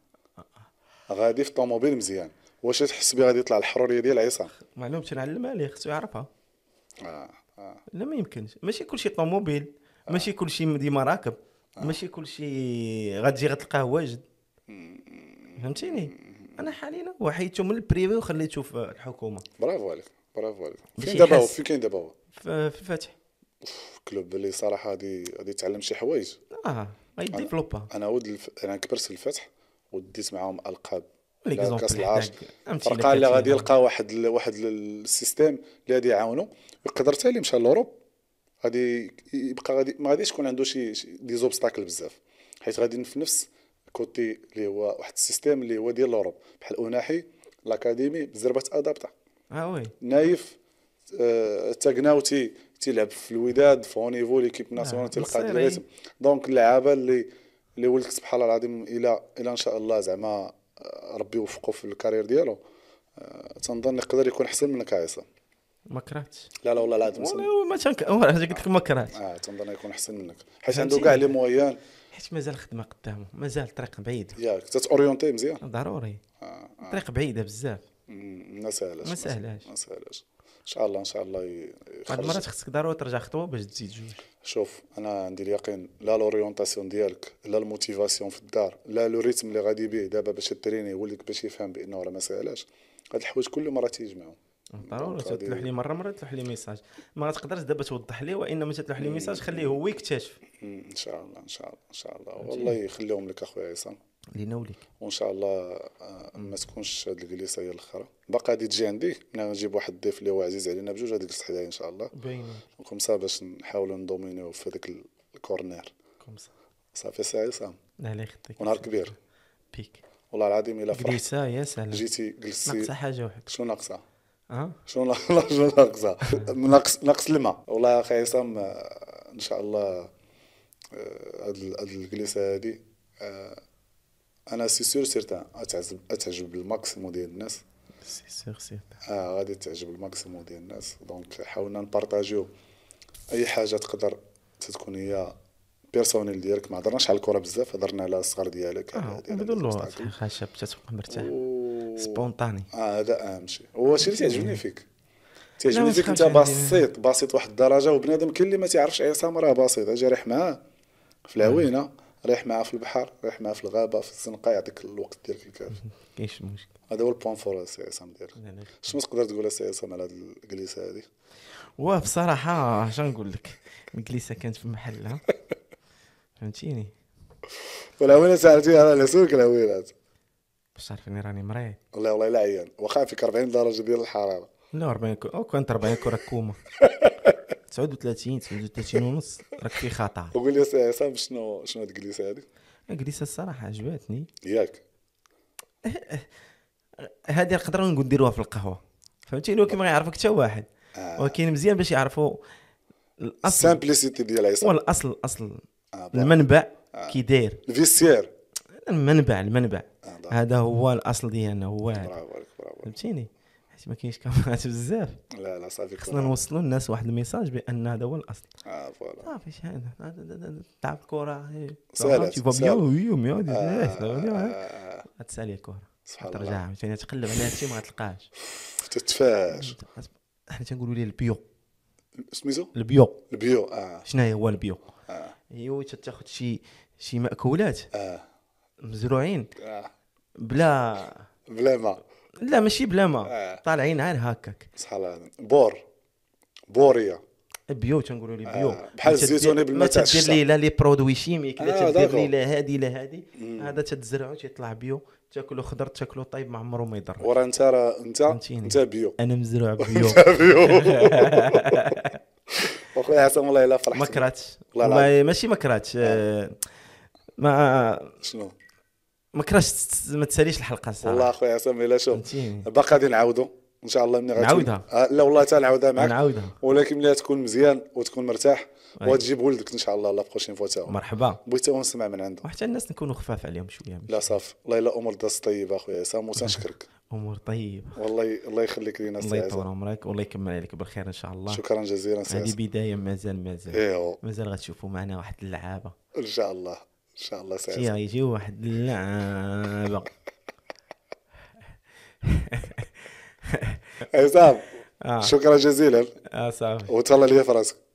S1: غادي في طوموبيل مزيان واش تحس بيه غادي يطلع الحروريه ديال عصام
S2: معلوم تنعلم عليه خصو يعرفها
S1: آه. آه.
S2: لا ما يمكنش ماشي كل شيء طوموبيل ماشي كل شيء ديما راكب ماشي كل شيء غتجي غتلقاه واجد فهمتيني انا حاليا وحيدته من البريفي وخليته في الحكومه
S1: برافو عليك برافو عليك فين
S2: ماشي
S1: دابا هو
S2: يحس.
S1: فين كاين دابا هو
S2: في في الفاتح
S1: كلوب اللي صراحه غادي غادي يتعلم شي حوايج
S2: اه غيديفلوبا
S1: انا ود الف... انا كبرت في الفتح وديت معاهم القاب
S2: لي
S1: لا
S2: زومبل
S1: كاس
S2: حداك.
S1: العرش
S2: أمثلة
S1: فرقه اللي غادي
S2: كثيرة.
S1: يلقى واحد ال... واحد ال- السيستيم اللي غادي يعاونو يقدر حتى اللي مشى لوروب غادي يبقى غادي ما غاديش يكون عنده شي شي- دي زوبستاكل بزاف حيت غادي في نفس كوتي اللي هو واحد السيستيم اللي هو ديال لوروب بحال اوناحي الاكاديمي بزربه ادابتا
S2: اه وي
S1: نايف آه، تاكناوتي تيلعب في الوداد في هو نيفو ليكيب
S2: نعم،
S1: ناسيونال تلقى هاد
S2: مصيري.
S1: الريتم دونك اللعابه اللي اللي ولدك سبحان الله العظيم الى الى ان شاء الله زعما آه، ربي يوفقه في الكارير ديالو آه، تنظن يقدر يكون احسن منك عيسى
S2: ما كرهتش
S1: لا لا والله العظيم تن-
S2: والله ما تنك أول حاجة قلت لك ما كرهتش
S1: اه تنظن يكون احسن منك حيت عنده
S2: فهمتيني.
S1: كاع لي مويان
S2: حيت مازال الخدمه قدامه مازال الطريق بعيد
S1: ياك تتاورينتي مزيان
S2: ضروري
S1: آه،
S2: الطريق بعيده بزاف
S1: مم، ما ساهلاش
S2: ما ساهلاش.
S1: ما ساهلاش ان شاء الله ان شاء الله ي-
S2: بعض
S1: يخرج
S2: المرات خصك ضروري ترجع خطوه باش تزيد جوج
S1: شوف انا عندي اليقين لا لوريونتاسيون ديالك لا الموتيفاسيون في الدار لا لو ريتم اللي غادي بيه دابا باش تريني ولدك باش يفهم بانه راه ما ساهلاش هاد الحوايج كل مره تيجمعوا
S2: ضروري
S1: دونك غادي-
S2: تتلوح لي مره مره طيب، تلوح لي ميساج ما تقدرش دابا توضح لي وانما تتلوح لي ميساج خليه هو يكتشف
S1: مم، ان شاء الله ان شاء الله ان شاء الله والله يخليهم لك اخويا عصام
S2: لينا وليك
S1: وان شاء الله آه، ما تكونش هاد الجلسه هي الاخرى باقي غادي تجي عندي انا نجيب واحد الضيف اللي هو عزيز علينا بجوج غادي يجلس حدايا ان شاء الله
S2: باينين
S1: وخمسه باش نحاولوا ندومينيو في هذاك ال- الكورنير
S2: كوم سا
S1: صافي سي عصام
S2: لا لا يخطيك
S1: ونهار كبير
S2: بيك
S1: والله العظيم الا فرحت
S2: جلسه يا سلام
S1: جيتي جلستي
S2: ناقصه حاجه وحده
S1: شنو ناقصه
S2: ها
S1: شنو ناق- لا، شنو ناقصه ناقص ناقص الماء والله اخي عصام آه، ان شاء الله آه، هاد ال- هاد الجلسه هادي آه، انا سي سور سيرتان اتعجب اتعجب بالماكسيموم ديال الناس
S2: سي سيغ سيغ
S1: اه غادي تعجب الماكسيموم ديال الناس دونك حاولنا نبارطاجيو اي حاجه تقدر تتكون هي بيرسونيل ديالك ما هضرناش على الكره بزاف هضرنا على الصغر ديالك على
S2: اه
S1: هادي، على
S2: بدون
S1: هادي
S2: لغه
S1: المستقبل.
S2: صحيح خشب تتبقى مرتاح
S1: و-
S2: سبونطاني
S1: اه هذا اهم شيء هو الشيء اللي تعجبني فيك تيعجبني
S2: ما
S1: فيك
S2: تخافش
S1: انت
S2: عندي.
S1: بسيط بسيط واحد الدرجه وبنادم كاين اللي ما تيعرفش عصام راه بسيط اجي ريح معاه في العوينه ريح معاه في البحر ريح معاه في الغابه في الزنقه يعطيك الوقت ديالك الكافي
S2: كاينش المشكل
S1: هذا هو البوان فور سي عصام ديالك
S2: لا، لا.
S1: شنو تقدر تقول سي عصام على هاد الجلسه هذه
S2: هو بصراحه اش نقول لك المجلسه كانت في محلها فهمتيني
S1: والعوينه ساعتي على لسوك العوينات
S2: باش تعرفيني راني مريض
S1: والله والله لا عيان واخا فيك 40 درجه ديال الحراره
S2: لا 40 كو او كانت 40 كره كوما 39 39 ونص راك في خطا
S1: وقول لي سي عصام شنو شنو هاد الجلسه هذه
S2: الجلسه الصراحه عجبتني
S1: ياك
S2: هذه نقدروا نقول نديروها في القهوه فهمتيني ولكن ما يعرفك حتى واحد
S1: آه.
S2: ولكن مزيان باش يعرفوا الاصل
S1: السامبليسيتي ديال
S2: هو
S1: عصام
S2: الاصل الاصل
S1: آه، بلا.
S2: المنبع كي داير
S1: الفيسيير
S2: المنبع المنبع
S1: آه، بلا.
S2: هذا هو الاصل ديالنا هو هذا.
S1: برافو عليك برافو
S2: فهمتيني حيت ما كاينش كاميرات بزاف
S1: لا لا صافي
S2: خصنا
S1: كون-
S2: نوصلوا للناس واحد الميساج بان هذا هو الاصل
S1: اه فوالا
S2: صافي شحال تلعب الكره إيه.
S1: سهلة،
S2: تي فوا
S1: سهلة.
S2: بيان وي وي وي
S1: آه،
S2: وي
S1: آه،
S2: غتسالي الكره
S1: سبحان الله.
S2: ترجع فهمتيني تقلب على هادشي ما غتلقاهش
S1: تتفاش
S2: حنا تنقولوا ليه البيو
S1: سميتو
S2: البيو
S1: البيو اه
S2: شنو هي هو البيو
S1: اه
S2: ايوا تاخذ شي شي ماكولات
S1: اه
S2: مزروعين
S1: آه.
S2: بلا
S1: بلا ما
S2: لا ماشي بلا ما
S1: آه.
S2: طالعين غير هكاك
S1: صحال هذا. بور بوريه
S2: بيو تنقولوا لي بيو
S1: آه، بحال
S2: ما تدير-
S1: الزيتوني بالماء
S2: ما
S1: تاع
S2: تدير
S1: الشتا.
S2: لي لا لي برودوي شيميك لا
S1: آه،
S2: تدير
S1: داكور.
S2: لي لا هادي لا هادي هذا تتزرعو تيطلع بيو تاكلو خضر تاكلو طيب ما عمرو ما يضر
S1: ورا انت راه انت
S2: فهمتيني.
S1: انت بيو
S2: انا مزروع بيو
S1: بيو واخويا عصام والله الا فرحت
S2: ما كراتش
S1: والله
S2: والله ماشي ما كراتش آه، ما
S1: شنو
S2: ما كرهتش تس- ما تساليش الحلقه
S1: والله
S2: الصراحه
S1: اخويا عصام الا شوف
S2: فهمتيني
S1: باقي غادي نعاودو ان شاء الله ملي غتكون-
S2: نعاودها.
S1: آه، لا والله حتى نعاودها معك
S2: نعاودها
S1: ولكن ملي تكون مزيان وتكون مرتاح
S2: أي.
S1: وتجيب ولدك ان شاء الله لا بروشين فوا تا هو.
S2: مرحبا
S1: بغيت هو نسمع من عنده
S2: وحتى الناس نكونوا خفاف عليهم شويه
S1: لا صافي والله الا امور دازت طيبه اخويا عصام وتنشكرك
S2: امور طيبه
S1: والله الله يخليك لينا
S2: طيب. الله
S1: سي
S2: يطول
S1: عصام
S2: عمرك والله يكمل عليك بالخير ان شاء الله
S1: شكرا جزيلا سي
S2: هذه
S1: عصام
S2: بدايه مازال مازال
S1: ايوا
S2: مازال غتشوفوا معنا واحد اللعابه
S1: ان إيوه. شاء الله ان شاء الله سي
S2: شي
S1: عصام
S2: غيجي واحد اللعابه
S1: عصام
S2: اه
S1: شكرا جزيلا
S2: اه صافي آه،
S1: وتهلا لي في راسك